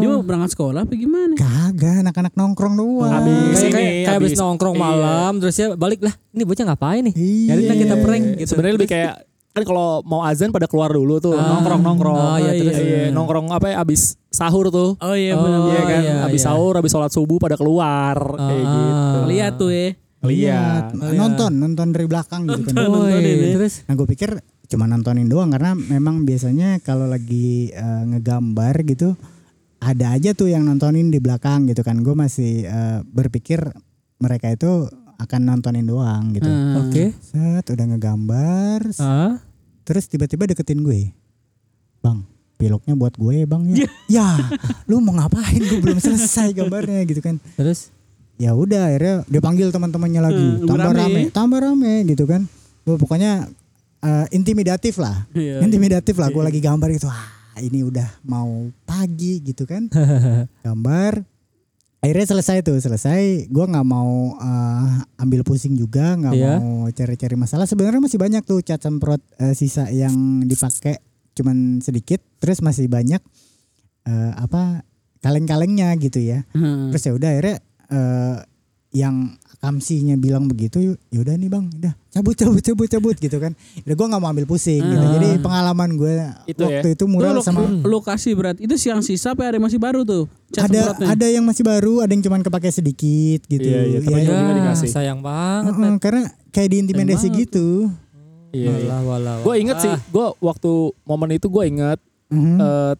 Dia mau berangkat sekolah apa gimana? Kagak, anak-anak nongkrong doang. Habis Kayak Iya, ini, kayak kayak habis- habis nongkrong iya. malam terus ya balik lah. Ini bocah ngapain nih? Iya. Jadi kita prank gitu. Sebenarnya lebih kayak kan kalau mau azan pada keluar dulu tuh Ah. nongkrong nongkrong. Oh, iya, terus. nongkrong apa ya abis sahur tuh. Oh iya Oh, benar. iya kan, iya, abis iya. sahur, abis sholat subuh pada keluar kayak Ah. gitu. Lihat tuh ya. Lihat. Lihat, eh, nonton, nonton dari belakang gitu kan. Woi, nontonin ya. terus Nah, gue pikir cuma nontonin doang karena memang biasanya kalau lagi eh, ngegambar gitu ada aja tuh yang nontonin di belakang gitu kan. Gue masih eh, berpikir mereka itu akan nontonin doang gitu. oke. Hmm. Set udah ngegambar, Ah. terus tiba-tiba deketin gue. Bang, piloknya buat gue, Bang ya. ya, lu mau ngapain? Gue belum selesai gambarnya gitu kan. Terus Ya udah akhirnya dia panggil teman-temannya lagi. Hmm, tambah berame. rame, tambah rame gitu kan. Gue pokoknya eh, intimidatif lah. Iya. Intimidatif lah gue lagi gambar gitu. Ah, ini udah mau pagi gitu kan. gambar akhirnya selesai tuh selesai gue nggak mau eh, ambil pusing juga nggak Iya. mau cari-cari masalah sebenarnya masih banyak tuh cat semprot eh, sisa yang dipakai cuman sedikit terus masih banyak eh, apa kaleng-kalengnya gitu ya Hmm. Heeh. terus ya udah akhirnya eh, yang kamsinya bilang begitu yaudah nih bang udah cabut cabut cabut cabut gitu kan udah gue nggak mau ambil pusing gitu Ah. jadi pengalaman gue Hmm. Itu ya. waktu itu Itu mural lo- sama lokasi berat. Itu siang sisa apa ada yang masih baru tuh? Cat ada semprotnya. ada yang masih baru, ada yang cuman kepake sedikit gitu. Iya, iya, tapi Ya, juga ya, dikasih. sayang banget. heeh, karena kayak diintimidasi Sayang banget. gitu. Iya, iya. Walah, walah, Gue inget walah. sih, gue waktu momen itu gue inget Mhm. Hmm. eh,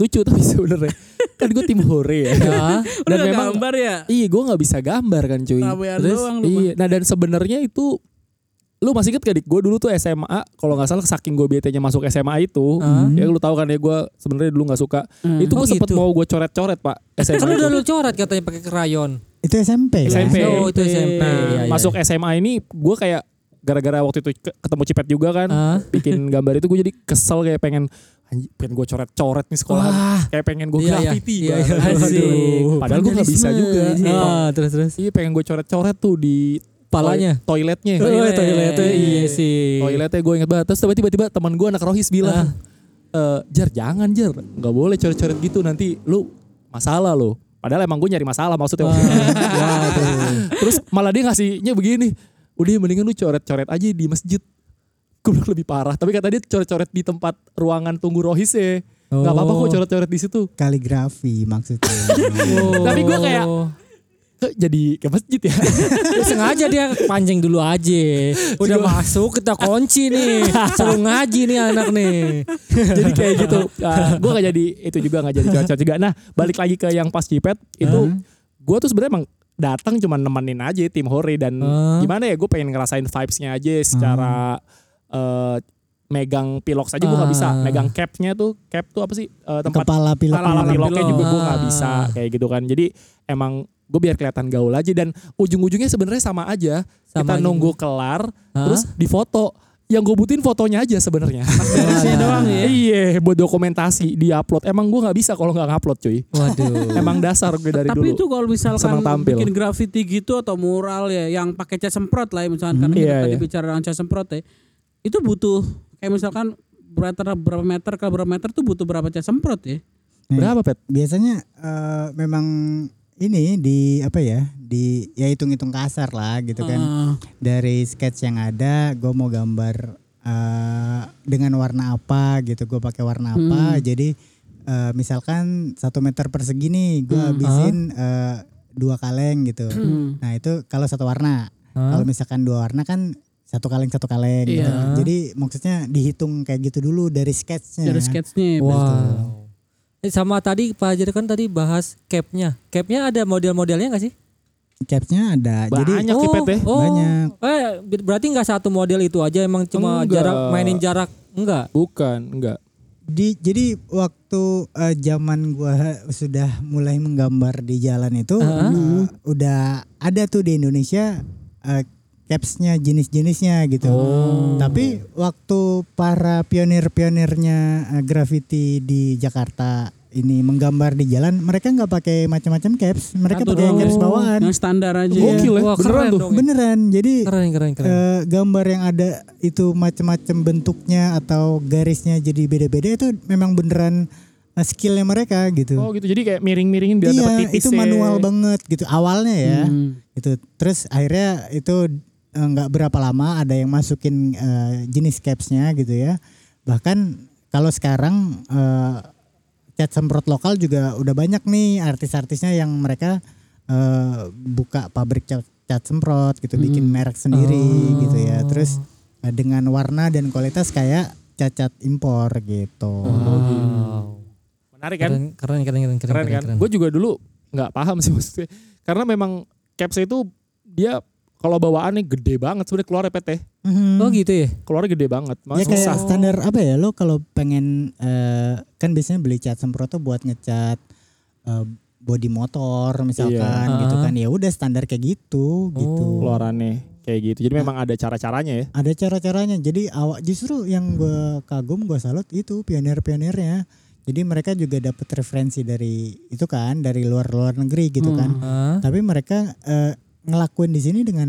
lucu tapi sebenarnya kan gue tim hore ya. Ya. Dan Dan memang gambar ya. iya gue nggak bisa gambar kan cuy. Rawean doang lu, iya. Nah dan sebenarnya itu lu masih inget gak dik gue dulu tuh SMA kalau nggak salah saking gue betenya masuk SMA itu Ah. ya lu tahu kan ya gue sebenarnya dulu nggak suka Hmm. itu gue Oh, sempet gitu. mau gue coret-coret pak Kan SMA udah itu. lu coret katanya pakai krayon. Itu SMP kan? SMP. Oh, itu SMP. Iya, Nah, Iya, iya. masuk SMA ini gue kayak gara-gara waktu itu ke- ketemu Cipet juga kan Ah. bikin gambar itu gue jadi kesel kayak pengen "Anjing, pengen gue coret-coret nih sekolah Wah. kayak pengen gue Iya, iya. graffiti Iya, banget. iya. Asik. Aduh. padahal gue nggak bisa Vandalisme. juga Ah, terus terus. iya pengen gue coret-coret tuh di Palanya. toi- Oh, toiletnya Toilet. toiletnya iya Ah. sih. toiletnya gue inget banget terus tiba-tiba teman gue anak rohis bilang "Eh, jar jangan jar nggak boleh coret-coret gitu nanti lu masalah lo padahal emang gue nyari masalah maksudnya waktu itu. terus malah dia ngasihnya begini udah mendingan lu coret-coret aja di masjid gue bilang lebih parah tapi kata dia coret-coret di tempat ruangan tunggu rohis ya nggak apa-apa Oh. kok coret-coret di situ Kaligrafi maksudnya. Oh. Tapi gua kayak- Kok jadi ke masjid ya Ya, sengaja dia pancing dulu aja. Udah masuk kita kunci nih. Suruh ngaji nih anak nih. jadi kayak gitu gue gak jadi itu juga gak jadi cocok juga nah balik lagi ke yang pas cipet itu gue tuh sebenarnya emang datang cuma nemenin aja tim hore dan Ah. gimana ya gue pengen ngerasain vibesnya aja secara eh, megang pilok saja gue gak bisa Ah. megang capnya tuh cap tuh apa sih Eh, tempat Kepala pilok. kepala Kepala piloknya pilok. juga gue gak Ah. bisa kayak gitu kan jadi emang gue biar kelihatan gaul aja dan ujung-ujungnya sebenarnya sama aja Sama kita aja. nunggu kelar Hah? terus difoto yang gue butuhin fotonya aja sebenarnya. Beresnya doang ya. Iya, buat dokumentasi di upload. Emang gue nggak bisa kalau nggak ngupload cuy. Waduh. Emang dasar gue dari Tapi itu dulu. kalau misalkan Senang tampil. bikin graffiti gitu atau mural ya yang pakai cat semprot lah ya, misalkan karena Hmm, kita iya, tadi iya. bicara tentang cat semprot ya. Itu butuh kayak misalkan berantara berapa meter ke berapa meter tuh butuh berapa cat semprot ya. Hmm. Berapa pet? biasanya eh, memang ini di apa ya di ya hitung-hitung kasar lah gitu kan Ah, dari sketch yang ada gue mau gambar eh, dengan warna apa gitu gue pakai warna apa Hmm. jadi eh, misalkan satu meter persegi nih gue Hmm. habisin eh, dua kaleng gitu nah itu kalau satu warna kalau misalkan dua warna kan satu kaleng satu kaleng gitu. Iya. jadi maksudnya dihitung kayak gitu dulu dari sketchnya dari ya, sketsnya. Wow. Eh, sama tadi Pak Hajar kan tadi bahas capnya. Capnya ada model-modelnya nggak sih? capnya ada jadi Banyak ya pet ya. oh. banyak Eh, ber- berarti nggak satu model itu aja emang cuma Enggak. jarak mainin jarak enggak? Bukan, enggak. Di, jadi waktu eh, zaman gua sudah mulai menggambar di jalan itu eh, udah ada tuh di Indonesia eh, capsnya jenis-jenisnya gitu. Tapi waktu para pionir-pionirnya eh, graffiti di Jakarta ini menggambar di jalan, mereka nggak pakai macam-macam caps, mereka Satu pakai yang doang. caps bawaan. Yang standar aja. ya. Gokil ya, Wah, beneran keren tuh. dong. Beneran. Jadi Keren keren keren. eh, gambar yang ada itu macam-macam bentuknya atau garisnya jadi beda-beda itu memang beneran eh, skillnya mereka Oh gitu. gitu, jadi kayak miring-miringin biar dapet iya, tipis itu manual banget gitu awalnya ya. Hmm. Gitu. Terus akhirnya itu eh, nggak berapa lama ada yang masukin eh, jenis capsnya gitu ya. Bahkan kalau sekarang eh, cat semprot lokal juga udah banyak nih artis-artisnya yang mereka eh, buka pabrik cat, cat semprot gitu bikin merek sendiri gitu ya terus eh, dengan warna dan kualitas kayak cacat impor gitu Wow. Menarik kan? Keren keren keren keren keren. keren kan? keren. Gue juga dulu nggak paham sih maksudnya. Karena memang caps itu dia kalau bawaannya gede banget sebenarnya keluar PT. Mhm. Oh gitu ya. Keluarnya gede banget. Makanya ya kayak susah. standar apa ya lo kalau pengen eh, kan biasanya beli cat semprot tuh buat ngecat eh, body motor misalkan Iya. gitu Ah. kan ya udah standar kayak gitu gitu Oh. Keluarannya kayak gitu. Jadi memang ada cara-caranya ya. ada cara-caranya jadi awak justru yang gue kagum gue salut itu pionir-pionirnya jadi mereka juga dapat referensi dari itu kan dari luar-luar negeri Hmm. gitu kan Hmm. Hah? tapi mereka eh, ngelakuin di sini dengan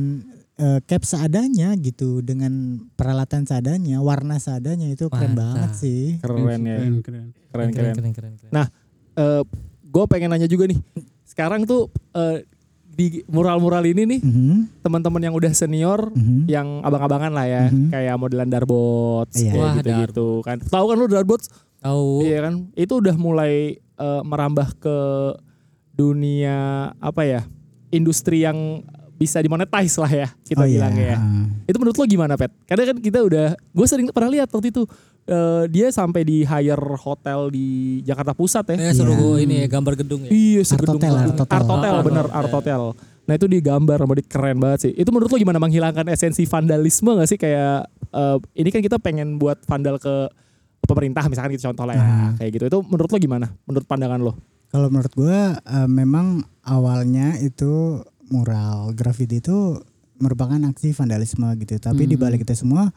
eh, cap seadanya gitu dengan peralatan seadanya warna seadanya itu keren Mantap. banget sih Keren ya. Keren, keren. Keren keren. keren keren. keren. gue Nah, eh, pengen nanya juga nih. Sekarang tuh eh, di mural-mural ini nih Mhm, teman-teman yang udah senior mhm. yang abang-abangan lah ya Mhm. kayak modelan darbot Iya. Wah, kayak gitu-gitu kan tahu kan lu darbot Tahu. Iya kan, itu udah mulai eh, merambah ke dunia apa ya, industri yang bisa dimonetize lah ya Oh, kita iya. bilangnya ya. Ah. Itu menurut lo gimana Pet? Karena kan kita udah, gue sering pernah lihat waktu itu eh, dia sampai di hire hotel di Jakarta Pusat ya. Eh, suruh gua ini ya, gambar gedung ya. Iya, segedung Hotel, banget. Art Hotel. Art Hotel, bener Iya. Art Hotel. Nah itu digambar sama dia keren banget sih. Itu menurut lo gimana menghilangkan esensi vandalisme gak sih kayak eh, ini kan kita pengen buat vandal ke pemerintah misalkan gitu contoh lah Nah. ya kayak gitu. Itu menurut lo gimana? Menurut pandangan lo? Kalau menurut gua eh, memang awalnya itu mural graffiti itu merupakan aksi vandalisme gitu. Tapi Mm-hmm. di balik itu semua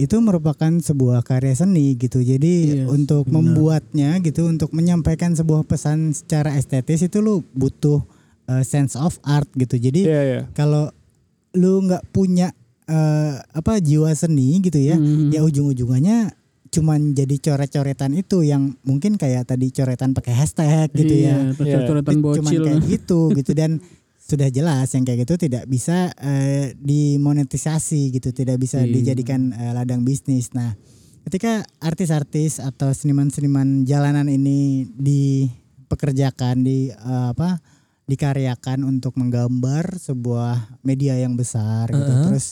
itu merupakan sebuah karya seni gitu. Jadi Iya, Yes, untuk membuatnya gitu, untuk menyampaikan sebuah pesan secara estetis itu lu butuh eh, sense of art gitu. Jadi Iya iya. kalau lu nggak punya eh, apa jiwa seni gitu ya Hmm. ya ujung-ujungannya cuman jadi coret-coretan itu yang mungkin kayak tadi coretan pakai hashtag gitu iya, ya terus Iya. coret-coretan Itu cuman bocil. kayak gitu gitu dan sudah jelas yang kayak gitu tidak bisa eh, dimonetisasi gitu tidak bisa Iya. dijadikan eh, ladang bisnis nah ketika artis-artis atau seniman-seniman jalanan ini dipekerjakan di eh, apa dikaryakan untuk menggambar sebuah media yang besar gitu Uh-uh. terus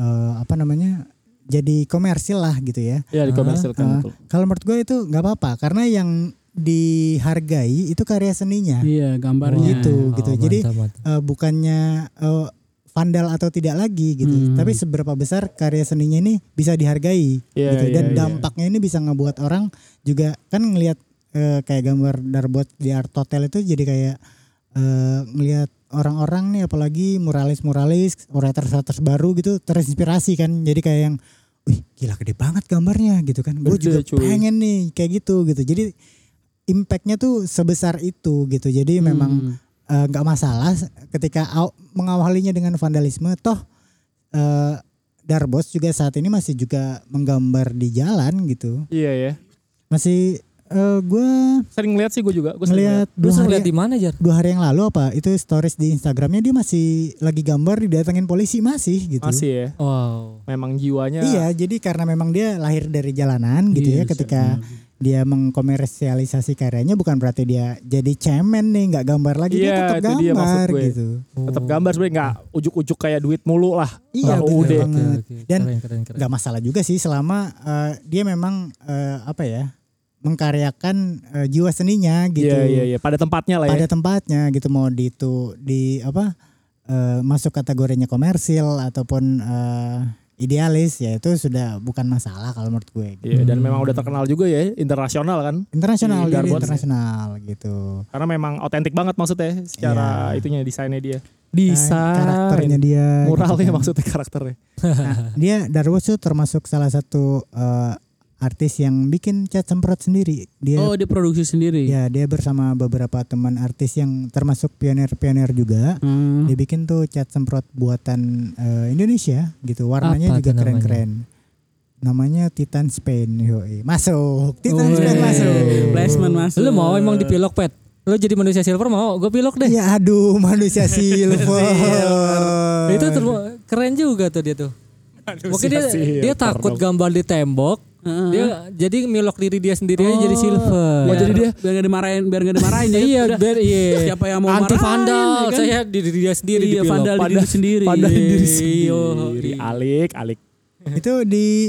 eh, apa namanya jadi komersil lah gitu ya Iya di komersil kan Ah, betul. kalau menurut gue itu nggak apa-apa karena yang dihargai itu karya seninya Iya, gambarnya. Gitu, gitu. Oh, Jadi- mantap, mantap. Eh, bukannya eh, vandal atau tidak lagi gitu Hmm. tapi seberapa besar karya seninya ini bisa dihargai Iya, gitu iya, dan iya. dampaknya ini bisa ngebuat orang juga kan ngelihat eh, kayak gambar darbot di art hotel itu jadi kayak eh, ngelihat orang-orang nih apalagi muralis-muralis, orators-orators baru gitu terinspirasi kan. Jadi kayak yang wih gila gede banget gambarnya gitu kan gue juga Gede, cuy. pengen nih kayak gitu gitu jadi impactnya tuh sebesar itu gitu jadi memang Hmm. Hmm. eh, nggak masalah ketika aw- mengawalinya dengan vandalisme toh eh, Darbos juga saat ini masih juga menggambar di jalan gitu Iya ya. masih eh, gua Sering ngeliat sih gue juga. Gue ngeliat Lu dua sering hari lihat di mana Jar? dua hari yang lalu apa itu stories di Instagramnya dia masih lagi gambar didatengin polisi masih gitu Masih ya. Wow. Memang jiwanya. Iya, jadi karena memang dia lahir dari jalanan gitu ya. Iya, Ketika dia mengkomersialisasi karyanya, bukan berarti dia jadi cemen nih, nggak gambar lagi Iya, dia tetap itu dia maksud gambar gue. gitu. Tetap gambar sebenarnya nggak ujuk-ujuk kayak duit mulu lah. Iya, betul Oh, udah. Ya, Oke, banget. oke. Dan keren, keren, keren. Nggak masalah juga sih selama eh, dia memang eh, apa ya mengkaryakan eh, jiwa seninya gitu. Iya iya iya. Pada tempatnya lah ya. Pada tempatnya gitu mau di itu di apa eh, masuk kategorinya komersil ataupun eh, idealis ya itu sudah bukan masalah kalau menurut gue. gitu. Iya, dan memang udah terkenal juga ya internasional kan. Internasional Di jadi Darbon. internasional gitu. Karena memang otentik banget maksudnya secara Iya. itunya desainnya dia. Nah, Desain karakternya dia muralnya gitu kan. maksudnya karakternya. Nah, dia Darwos tuh termasuk salah satu eh, artis yang bikin cat semprot sendiri dia Oh, dia produksi sendiri. ya dia bersama beberapa teman artis yang termasuk pioner-pioner juga Hmm. dia bikin tuh cat semprot buatan eh, Indonesia gitu warnanya Apa juga tuh keren-keren namanya Titan Spain yoi. masuk Titan Spain Weh. masuk Placement masuk. Lu mau emang dipilok pet? Lu jadi manusia silver mau? Gue pilok deh. ya aduh manusia silver Itu term- keren juga tuh dia tuh. Mungkin dia, dia takut gambar di tembok. iya, Heeh. Oh. Dia jadi milok diri dia sendiri aja jadi silver. Biar- Iya. biar gak dimarahin, biar gak dimarahin. jadi iya, udah. biar iya. Siapa yang mau marahin, Anti vandal, ya kan? saya diri dia sendiri Iya, dipilok. vandal diri Padahal- sendiri. Padahal diri Iya. sendiri. Alik, alik. itu di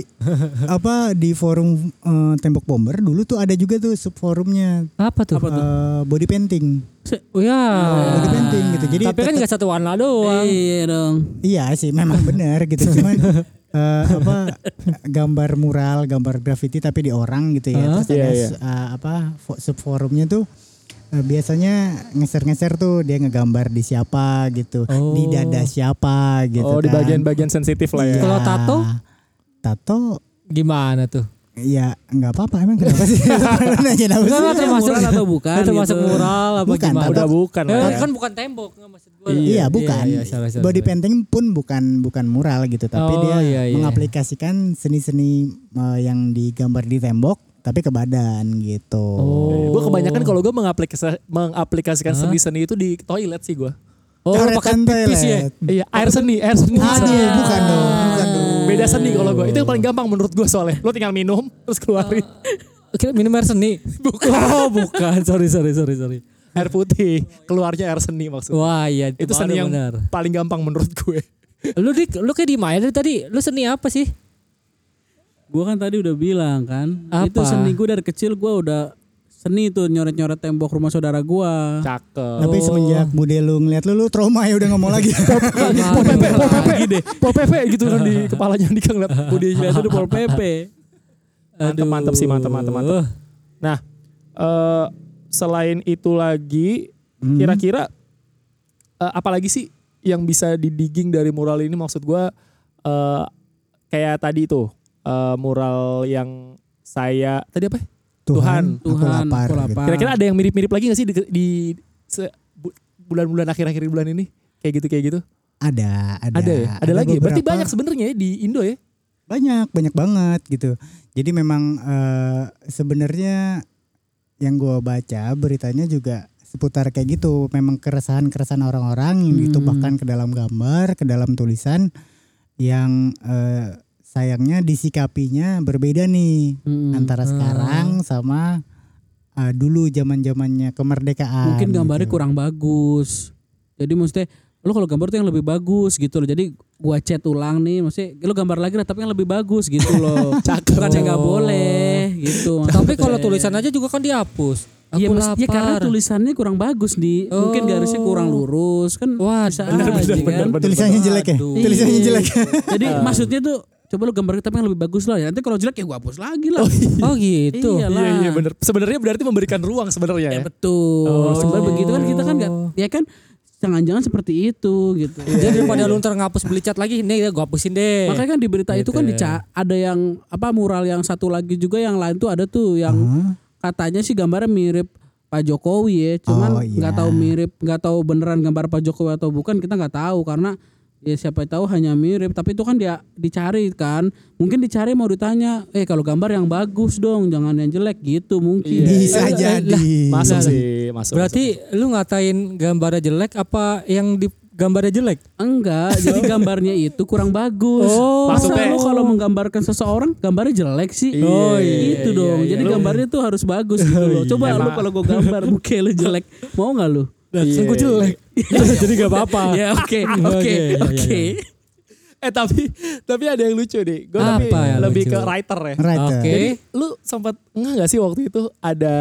apa di forum eh, tembok bomber dulu tuh ada juga tuh subforumnya Apa tuh? Apa tuh? eh, body painting Oh ya. body painting gitu jadi Tapi kan tetep- nggak satu warna doang. Iya dong. iya sih memang benar gitu cuman eh, apa gambar mural gambar graffiti tapi di orang gitu ya terus Iya, ada iya. su- eh, apa fo- subforumnya tuh eh, biasanya ngeser-ngeser tuh dia ngegambar di siapa gitu di Oh. dada siapa gitu oh, di kan. bagian-bagian sensitif lah Iya. ya. Kalau tato? tato Gimana tuh? ya nggak apa-apa emang kenapa sih Lu nanya kenapa sih? Enggak enggak termasuk Murah atau bukan? termasuk gitu. mural apa Bukan, gimana? Udah bukan lah Eh, ya. kan bukan tembok nggak maksud gue. Iya, bukan. Iya, salah, salah, Body salah. painting pun bukan bukan mural gitu, tapi Oh, dia iya, iya. mengaplikasikan seni-seni eh, yang digambar di tembok tapi ke badan gitu. Gue kebanyakan kalau gue mengaplikasi, mengaplikasikan seni-seni itu di toilet sih gue. Oh, Coretan pakai pipis ya. toilet. Iya, air seni, air seni. Aduh, Ah, iya, bukan dong, bukan dong. Beda seni kalau gue. Itu yang paling gampang menurut gue soalnya. Lo tinggal minum, terus keluarin Kira minum air seni. bukan. Oh, bukan. Sorry, sorry, sorry, sorry. air putih. Keluarnya air seni maksudnya. Wah, iya itu seni yang benar. paling gampang menurut gue. Lu dik, lu kayak di Maya dari tadi. Lu seni apa sih? Gue kan tadi udah bilang kan. Apa? Itu seni gue dari kecil gue udah seni tuh nyoret-nyoret tembok rumah saudara gue. Cakep. Tapi semenjak Bude lu ngeliat lu, lu trauma ya udah nggak mau lagi. Pol Pepe, Pol Pepe, Pol Pepe gitu kan di kepalanya Andika ngeliat Budi Iya itu di Pol PP. Mantep, mantep sih, mantep, mantep, mantep. Aduh. Nah, eh selain itu lagi, Hmm, kira-kira eh, apalagi sih yang bisa didigging dari mural ini? Maksud gua eh kayak tadi tuh eh, mural yang saya tadi apa? ya? Tuhan, aku Tuhan, aku lapar. gitu. lapar. Kira-kira ada yang mirip-mirip lagi gak sih di, di se- bu- bulan-bulan akhir-akhir bulan ini? Kayak gitu, kayak gitu. Ada, ada, Ada ya, ada, lagi. ya? Berarti beberapa- banyak sebenarnya ya di Indo ya. banyak, banyak banget gitu. Jadi memang eh, sebenarnya yang gua baca beritanya juga seputar kayak gitu. Memang keresahan-keresahan orang-orang yang ditumpahkan Hmm. ke dalam gambar, ke dalam tulisan yang eh, sayangnya disikapinya berbeda nih Hmm, antara ah. sekarang sama eh, dulu zaman-zamannya kemerdekaan. Ah, Mungkin gambarnya gitu. kurang bagus. Jadi maksudnya lu kalau gambar tuh yang lebih bagus gitu loh. Jadi gua cat ulang nih maksudnya lu gambar lagi lah tapi yang lebih bagus gitu loh. Bukan yang nggak boleh gitu. Tapi maksudnya. kalau tulisan aja juga kan dihapus. Aku Iya, mas- lapar. ya karena tulisannya kurang bagus di mungkin garisnya kurang lurus kan Wah, bisa benar, aja benar, Ah. kan. Tulisannya jelek ya? Aduh. Tulisannya Iya. jelek. Jadi maksudnya tuh coba lu gambar tapi yang lebih bagus lah ya. Nanti kalau jelek ya gua hapus lagi lah. Oh gitu. Iyalah. Iya, Ah. iya Eh? benar. Sebenarnya berarti memberikan ruang sebenarnya ya. Oh, Oh. Betul. Sebenarnya begitu kan kita kan nggak ya kan jangan-jangan seperti itu gitu. Iya. Jadi daripada lu ntar ngapus beli cat lagi, nih ya gua hapusin deh. Makanya kan di berita itu kan Gitu. dica ada yang apa mural yang satu lagi juga yang lain tuh ada tuh yang Hah? katanya sih gambarnya mirip Pak Jokowi ya, Oh, cuman iya. nggak tahu mirip, nggak tahu beneran gambar Pak Jokowi atau bukan kita nggak tahu karena ya siapa tahu hanya mirip, tapi itu kan dia dicari kan, mungkin dicari mau ditanya, eh kalau gambar yang bagus dong, jangan yang jelek gitu mungkin. Iya. Bisa Eh, eh, jadi. Masuk Iya sih, masuk. Berarti lu ngatain gambarnya jelek apa yang di gambarnya jelek? Enggak, jadi gambarnya itu kurang bagus. Oh. Masa Maksudnya- lu kalau menggambarkan seseorang gambarnya jelek sih? Iya, oh, iya, gitu iya, dong. iya. jadi Lu- gambarnya tuh harus bagus gitu loh. Coba lu kalau gua gambar buke lu jelek, mau nggak lu? Iya, Langsung gua Nah, jelek. Jadi gak apa-apa. Ya oke, Oke, oke, iya, iya, oke. Eh tapi tapi ada yang lucu deh. Gue tapi Apa yang lebih lucu? ke writer ya. Writer. Oke. Lu sempat enggak nggak sih waktu itu ada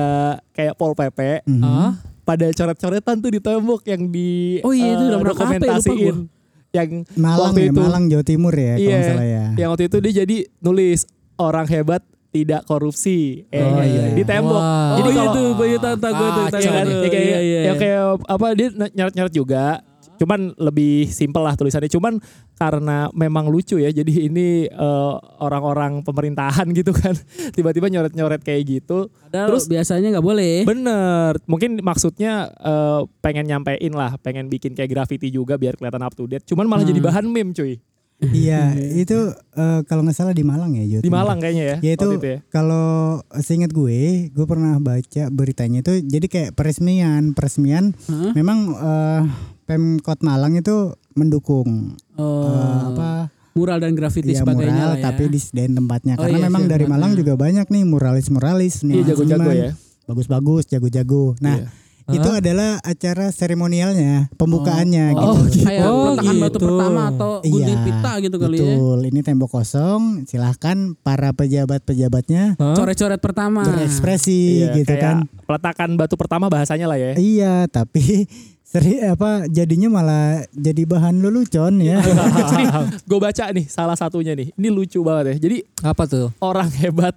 kayak Pol PP Ah, pada coret-coretan tuh di tembok yang di Oh iya, itu eh, udah pernah KP, lupa dokumentasiin. gua. yang Malang waktu ya, itu Malang Jawa Timur ya kalau Iya, nggak salah ya. yang waktu itu dia jadi nulis orang hebat tidak korupsi eh, Oh, iya. di tembok. Wah. Jadi Ah, Jadi iya kalau tuh Bayu Tanta gua tuh Kacau Iya kan? Aduh, Ya kayak, ya kayak apa dia n- nyeret-nyeret juga. Cuman lebih simpel lah tulisannya. Cuman karena memang lucu ya. Jadi ini eh, orang-orang pemerintahan gitu kan. Tiba-tiba nyoret-nyoret kayak gitu. Terus biasanya nggak Eh. boleh. Bener. Mungkin maksudnya eh, pengen nyampein lah. Pengen bikin kayak graffiti juga biar kelihatan up to date. Cuman malah jadi bahan meme cuy. Iya, itu eh, kalau nggak salah di Malang ya Jawa Di Timur. Malang kayaknya ya. Ya itu waktu ya. kalau seingat gue, gue pernah baca beritanya itu jadi kayak peresmian, peresmian. Hah? Memang eh, Pemkot Malang itu mendukung eh, Oh, apa mural dan grafiti ya sebagainya mural lah ya. tapi disediain tempatnya Oh, karena iya, memang sih, dari Malang tempatnya. juga banyak nih muralis-muralis nih Iya jago-jago ya. Bagus-bagus, jago-jago. Nah, Iya. itu adalah acara seremonialnya, pembukaannya gitu. Iya, Oh, kayak Oh, peletakan batu gitu. pertama atau gunting pita gitu kali ya. betul. Ini tembok kosong, silahkan para pejabat-pejabatnya Hah? Coret-coret pertama. berekspresi Iya, gitu kayak kan. Peletakan batu pertama bahasanya lah ya. Iya, tapi seri apa jadinya malah jadi bahan lelucon Iya, ya. gue baca nih salah satunya nih. Ini lucu banget ya. Jadi apa tuh? orang hebat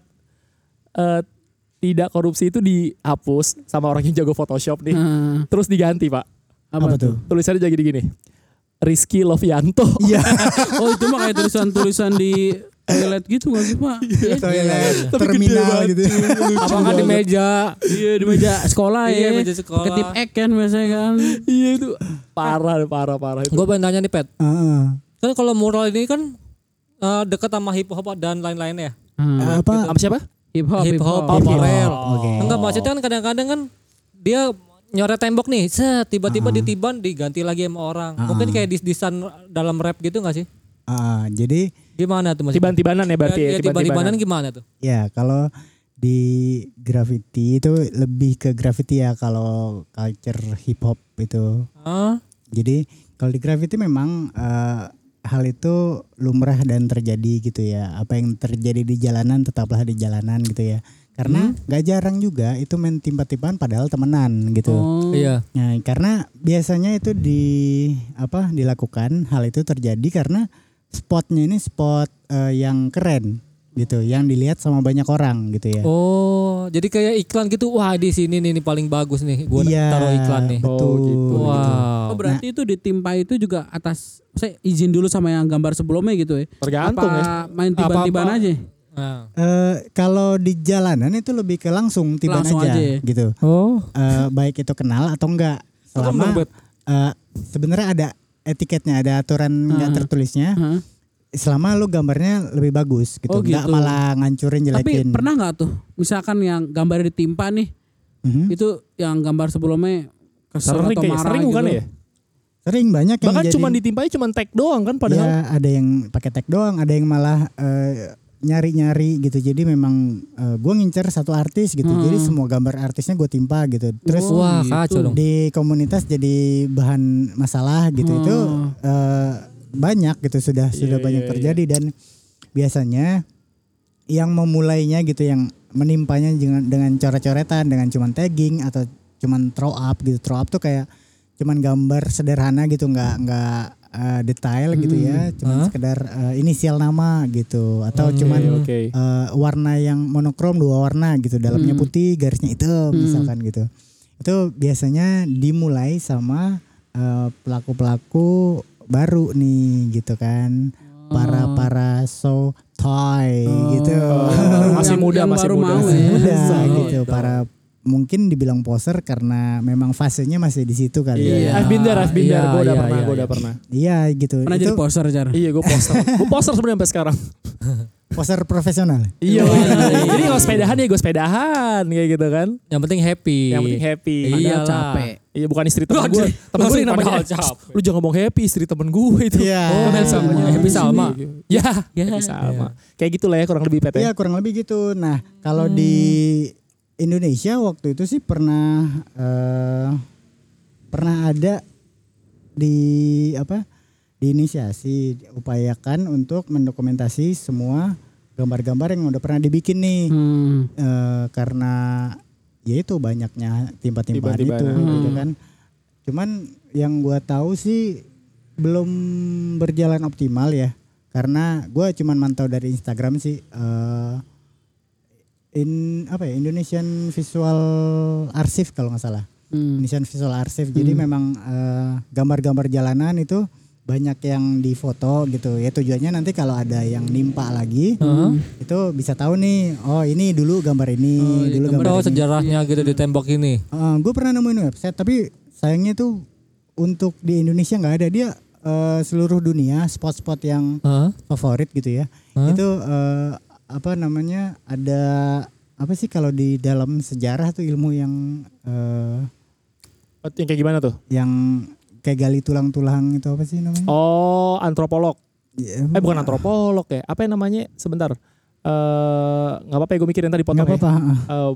eh, tidak korupsi itu dihapus sama orang yang jago Photoshop nih. Nah, Terus diganti pak. apa, Apa tuh? tuh? Tulisannya jadi gini. Rizky Lovianto. Iya, Oh itu mah kayak tulisan-tulisan di toilet gitu gak sih pak? Iya, toilet Tapi gede terminal banget. gitu. Apa kan di meja? Iya di meja sekolah Iya, ya. meja sekolah. Ketip ek kan biasanya kan. iya itu parah parah parah itu. Gue pengen tanya nih Pet. Heeh. Kan kalau mural ini kan eh, dekat sama hip hop dan lain-lainnya ya. apa? Hmm, gitu. Sama siapa? Hip hop, Hip hip hop, hop. Morel. Oh, Oke. Enggak maksudnya kan kadang-kadang kan dia nyoret tembok nih, set Ah. tiba-tiba ditiban diganti lagi sama orang. Mungkin kayak dis-disan dalam rap gitu gak sih? Ah, jadi Gimana tuh Mas? Tiban-tibanan ya berarti ya. Ya, tiba-tibanan gimana tuh? ya kalau di graffiti itu lebih ke graffiti ya kalau culture hip hop itu. Hah? Jadi kalau di graffiti memang eh, hal itu lumrah dan terjadi gitu ya. Apa yang terjadi di jalanan tetaplah di jalanan gitu ya. Karena nggak jarang juga itu main timpa-timpaan padahal temenan gitu. Oh. Iya. Nah, karena biasanya itu di apa dilakukan hal itu terjadi karena spotnya ini spot eh, yang keren gitu, yang dilihat sama banyak orang gitu ya. Oh, jadi kayak iklan gitu. Wah, di sini nih, nih paling bagus nih. Gua taruh iklan nih. Iya, Betul. Oh, gitu. Oh Wow. berarti itu ditimpa itu juga atas saya izin dulu sama yang gambar sebelumnya gitu ya. Tergantung ya. Apa main tiban-tiban Apa-apa. aja? Nah. Eh, kalau di jalanan itu lebih ke langsung tiba Langsung aja, aja ya? gitu. Oh. Eh, baik itu kenal atau enggak. Selama eh, sebenarnya ada etiketnya, ada aturan Ah. yang tertulisnya. Hah? Selama lu gambarnya lebih bagus gitu, Oh, enggak gitu. malah ngancurin Tapi jelekin. pernah nggak tuh misalkan yang gambar ditimpa nih Mhm. itu yang gambar sebelumnya kesel Sering atau kayak marah sering gitu. bukan ya? Sering banyak yang Bahkan jadi- cuma ditimpanya cuma tag doang kan padahal. ya ada yang pakai tag doang, ada yang malah eh, nyari-nyari gitu. Jadi memang eh, gua ngincer satu artis gitu. Jadi semua gambar artisnya gue timpa gitu. Terus Wah, kacau dong. di komunitas jadi bahan masalah gitu itu Mm. eh, banyak gitu sudah sudah Iya, banyak terjadi dan biasanya yang memulainya gitu yang menimpanya dengan dengan coret-coretan dengan cuman tagging atau cuman throw up gitu throw up tuh kayak cuman gambar sederhana gitu nggak nggak eh, detail gitu ya cuman sekedar eh, inisial nama gitu atau cuman Oh, iya, Oke. eh, warna yang monokrom dua warna gitu dalamnya Hmm. putih garisnya hitam misalkan gitu itu biasanya dimulai sama eh, pelaku-pelaku baru nih gitu kan. Oh. Para-para so toy gitu. Oh, Masih Yang- muda, yang masih Oh. baru muda. mau Masih ya. muda Oh. So, gitu. Para mungkin dibilang poser karena memang fasenya masih di situ kali Iya. ya. I've been there, I've been there. Iya, Gue udah iya, pernah, iya, gue udah iya. pernah. Iya gitu. Pernah Itu jadi poser jar. Iya, gue poster. gue poster sebenarnya sampai sekarang. poser profesional. Iya. Jadi kalau sepedahan ya gue sepedahan kayak gitu kan. Yang penting happy. Yang penting happy. Iya. Padahal Iyalah. capek. Iya bukan istri temen Lu gue. anjir, Temen gue langsung namanya padahal eh, capek. shh, Lu jangan ngomong happy istri temen gue itu. Iya. Oh, Happy Salma. Iya. Happy Salma. Ya, Iya. Happy Salma. Kayak gitu lah ya kurang lebih PT. Iya kurang lebih gitu. Nah kalau di Indonesia waktu itu sih pernah eh, pernah ada di apa diinisiasi upayakan untuk mendokumentasi semua gambar-gambar yang udah pernah dibikin nih Hmm. Eh, karena ya itu banyaknya timpa-timpaan Timpa-timpaan. itu gitu kan. Cuman yang gua tahu sih belum berjalan optimal ya. Karena gua cuman mantau dari Instagram sih eh, in apa ya Indonesian Visual Archive kalau nggak salah. Hmm. Indonesian Visual Archive. Jadi memang eh, gambar-gambar jalanan itu banyak yang difoto gitu. Ya tujuannya nanti kalau ada yang nimpa lagi itu bisa tahu nih oh ini dulu gambar ini iya, dulu gambar, Tahu ini sejarahnya gitu di tembok ini. gue pernah nemuin website tapi sayangnya tuh untuk di Indonesia nggak ada dia eh, seluruh dunia spot-spot yang Hah? favorit gitu ya itu eh, apa namanya ada apa sih kalau di dalam sejarah tuh ilmu yang eh, Yang kayak gimana tuh? yang kayak gali tulang-tulang itu apa sih namanya Oh, antropolog. Ya, Eh bukan antropolog ya. Apa yang namanya? Sebentar. Eh nggak apa-apa ya gue mikirin tadi potong nggak ya. apa-apa ah. Eh,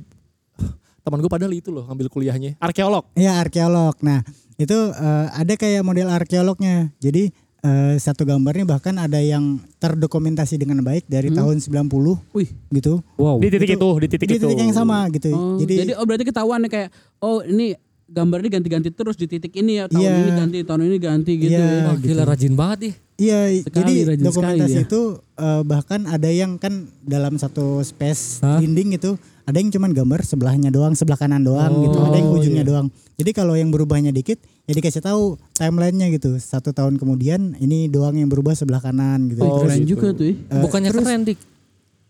teman gue padahal itu loh ngambil kuliahnya arkeolog Iya arkeolog. Nah itu eh, ada kayak model arkeolognya. Jadi eh, satu gambarnya bahkan ada yang terdokumentasi dengan baik dari tahun 90 Wih. gitu. Wow. Hmm? di titik itu, di titik Di itu titik yang sama gitu. Oh, jadi, jadi, oh berarti ketahuan nih kayak oh ini gambar ini ganti-ganti terus di titik ini ya tahun Iya. ini ganti tahun ini ganti gitu. Iya. ya. Wah, Ah, gila rajin banget ih. iya Sekali, ya. jadi rajin dokumentasi sekali dia. itu eh, bahkan ada yang kan dalam satu space dinding gitu ada yang cuman gambar sebelahnya doang, sebelah kanan doang gitu, Oh, ada yang iya. ujungnya doang. Jadi kalau yang berubahnya dikit ya dikasih tahu timelinenya gitu. Satu tahun kemudian ini doang yang berubah sebelah kanan gitu. Oh, keren juga tuh. ih. Bukannya keren dik.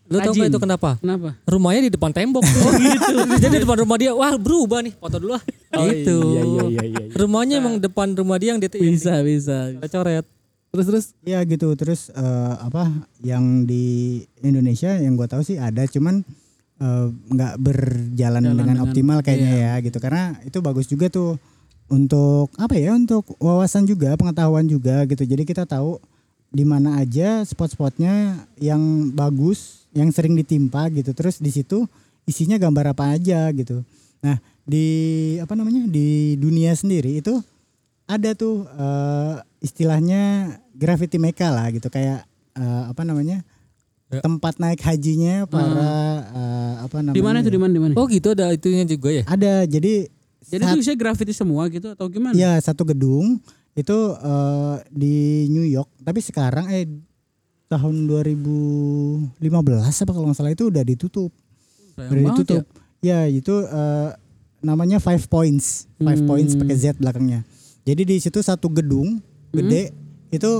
Lu tau gak itu kenapa? Kenapa? Rumahnya di depan tembok. Oh gitu. Jadi depan rumah dia, wah berubah nih foto dulu ah. gitu. Rumahnya emang depan rumah dia yang di Bisa bisa. coret. terus terus Iya gitu terus eh, apa yang di Indonesia yang gue tahu sih ada cuman eh, nggak berjalan dengan, optimal kayaknya ya gitu karena itu bagus juga tuh untuk apa ya untuk wawasan juga pengetahuan juga gitu jadi kita tahu di mana aja spot-spotnya yang bagus yang sering ditimpa gitu terus di situ isinya gambar apa aja gitu nah di apa namanya di dunia sendiri itu ada tuh eh, istilahnya graffiti meka lah gitu kayak eh, apa namanya Ya. tempat naik hajinya para eh, apa Hmm. namanya Di mana itu di mana di mana? Oh gitu ada itunya juga ya. ada jadi Jadi itu isinya graffiti semua gitu atau gimana? ya satu gedung itu eh, di New York tapi sekarang eh tahun 2015 apa kalau nggak salah itu udah ditutup Sayang udah banget ditutup ya, itu eh, namanya Five Points Five Hmm. Points pakai Z belakangnya jadi di situ satu gedung Hmm. gede itu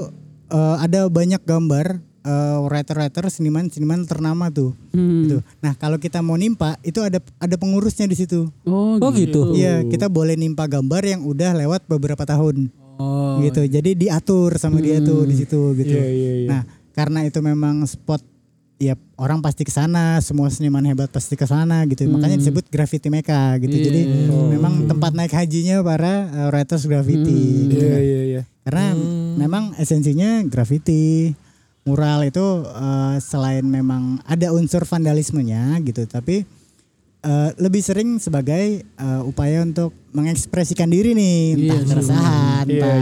eh, ada banyak gambar eh, writer-writer seniman-seniman ternama tuh Hmm. gitu. nah kalau kita mau nimpa itu ada ada pengurusnya di situ Oh, Oh gitu. Iya, kita boleh nimpa gambar yang udah lewat beberapa tahun. Oh. gitu. Jadi diatur sama dia tuh di situ gitu. iya, iya. Nah, karena itu memang spot ya orang pasti ke sana, semua seniman hebat pasti ke sana gitu. Hmm. Makanya disebut graffiti meka gitu. Iya, Jadi Oh, memang tempat naik hajinya para uh, writers graffiti gitu. iya iya iya Karena memang esensinya graffiti mural itu eh, selain memang ada unsur vandalismenya gitu, tapi eh, lebih sering sebagai eh, upaya untuk mengekspresikan diri nih, entah keresahan, entah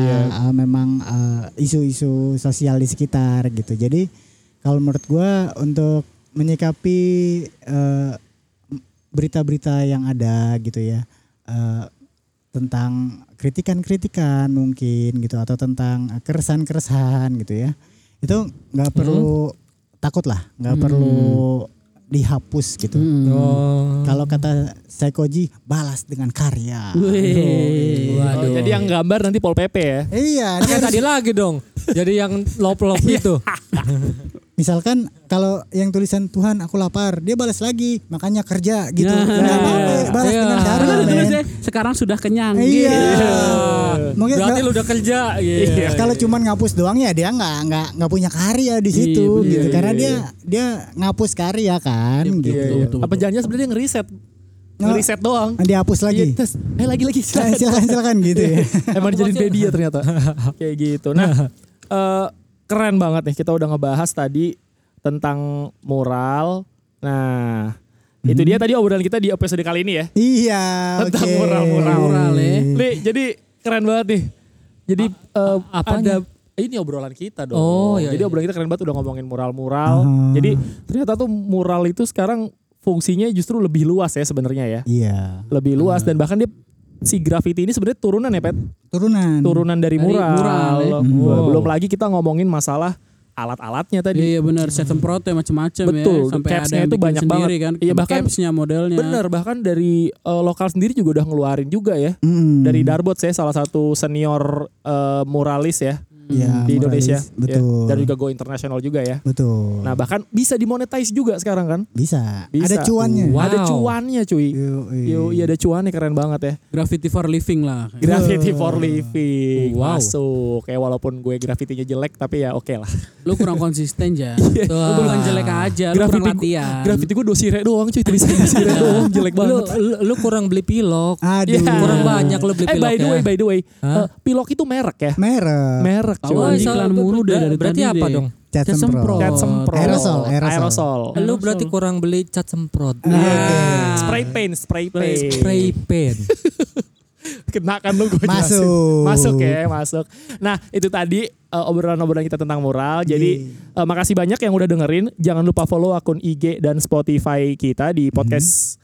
eh, memang eh, isu-isu sosial di sekitar gitu. Jadi kalau menurut gua untuk menyikapi eh, berita-berita yang ada gitu ya eh, tentang kritikan-kritikan mungkin gitu atau tentang eh, Hmm. keresahan-keresahan gitu ya itu nggak perlu takut lah nggak perlu dihapus gitu. Oh. Kalau kata Sekoji balas dengan karya. Wih. Waduh. Oh, jadi yang gambar nanti Pol PP ya. Iya, dia Kayak harus- tadi lagi dong. Jadi yang lop-lop itu. misalkan kalau yang tulisan Tuhan aku lapar, dia balas lagi, makanya kerja gitu. Ya. Nggak apa-apa, balas Nah. Iya. dengan Terus karya. ada men. tulisnya, kan ya, sekarang sudah kenyang. Iya. Gitu. Mungkin Eh, Berarti nggak- lu udah kerja. Iya. Kalau cuman ngapus doang ya dia nggak nggak nggak punya karya di situ Iya, gitu iya, karena iya, dia dia ngapus karya kan gitu. Betul, betul, Apa betul. janjinya sebenarnya ngeriset? Nggak. Ngeriset doang. Nah, Dihapus lagi. Iya, terus, eh lagi lagi Silakan silakan silakan gitu ya. Emang dijadiin baby ya ternyata. Kayak gitu. Nah, eh, keren banget nih kita udah ngebahas tadi tentang moral. Nah, itu dia tadi obrolan kita di episode kali ini ya. Iya. Tentang oke. moral-moral. Moral ya. Li, jadi keren banget nih. Iya. Jadi eh, ada apanya? ini obrolan kita dong. Oh, iya, jadi iya. obrolan kita keren banget udah ngomongin moral-moral. Ah. Jadi ternyata tuh moral itu sekarang fungsinya justru lebih luas ya sebenarnya ya. Iya. Lebih luas dan bahkan dia si graffiti ini sebenarnya turunan ya, Pet Turunan. turunan dari Dari mural. Hmm. mural, ya. Belum- Wow. Belum lagi kita ngomongin masalah alat-alatnya tadi. Iya benar, set semprotnya macam-macam ya. Betul, Sampai capsnya ada yang itu bikin banyak sendiri banget. kan. Iya, Sama bahkan- capsnya modelnya. Bener, bahkan dari eh, lokal sendiri juga udah ngeluarin juga ya. Mm. Dari Darbot saya salah satu senior eh, muralis ya Iya, moralis. di Indonesia. Betul. Ya, Dan juga go internasional juga ya. Betul. Nah bahkan bisa dimonetize juga sekarang kan. bisa. Bisa. Ada cuannya. Wow. Ada cuannya cuy. Yoi. Yo, iya ada cuannya keren banget ya. Graffiti for living lah. Graffiti for Oh, living. Wow. Masuk. Kayak walaupun gue graffitinya jelek tapi ya oke lah. Lu kurang konsisten aja. Lu bukan jelek aja, lu kurang Iya. Graffiti- latihan. Graffiti gue dosire doang cuy. Tulisannya dosire doang jelek Lu, banget. lu, lu kurang beli pilok. Aduh. Iya. Kurang banyak lu beli Eh pilok by the way, ya. by the way, Hah? Oh, eh, pilok itu merek ya? Merek. Merek Tahu cuy. Wah, Anjing, salah iklan gua mulu berda- dari Berarti tadi apa deh. dong? Cat Cat semprot. semprot. Cat semprot. Ah, Aerosol, aerosol. Lu berarti kurang beli cat semprot. Iya. Spray paint, spray paint. Nah. Spray pen. Kena kan lu gue jelasin. Masuk. Masuk ya, masuk. Nah, itu tadi eh, obrolan-obrolan kita tentang moral. Iya. Jadi eh, makasih banyak yang udah dengerin. Jangan lupa follow akun IG dan Spotify kita Hmm. di podcast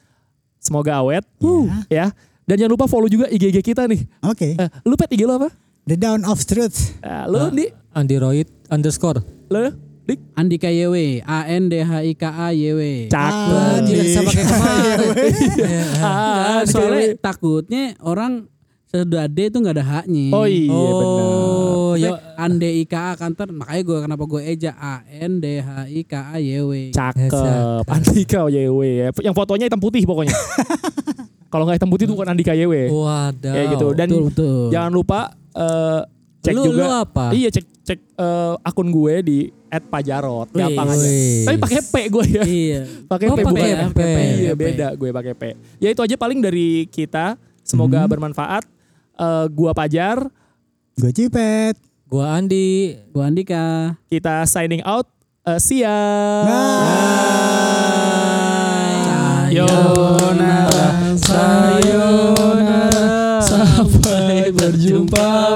Semoga Awet. Iya. Ya. Dan jangan lupa follow juga IG-IG kita nih. Oke. Eh, lu pet IG lu apa? The Down of Truth. Eh, lu di Android underscore. lu dik Andika YW, A N D H I K A Ah. YW. Wah, Adik. dia bisa pakai kemarin. Nah, Ah, soalnya takutnya orang sudah D itu nggak ada haknya. Oh iya benar. Oh, Maksudnya, ya Ande IKA kan ter makanya gue kenapa gue eja A N D H I K A Y W. Iya, Cakep. Cakep. Andika YW ya. Yang fotonya hitam putih pokoknya. Kalau nggak hitam putih itu bukan Andika Oh, YW. Waduh. Kayak gitu. Dan Betul betul. jangan lupa eh, cek ya, Lu- juga. lu apa? Iya cek cek eh, akun gue di @pajarot. Gampang aja. Wih. Tapi pakai P gue ya. Iya. Pakai Oh, P pakai bukan. P. Iya Pakai P. beda gue pakai P. Ya itu aja paling dari kita. Semoga Mhm. bermanfaat. Eh, gua Pajar. Gue cipet. Gua Andi. Bu Andika. Kita signing out. Eh, see ya. nah. Sayonara, sayonara, sampai berjumpa.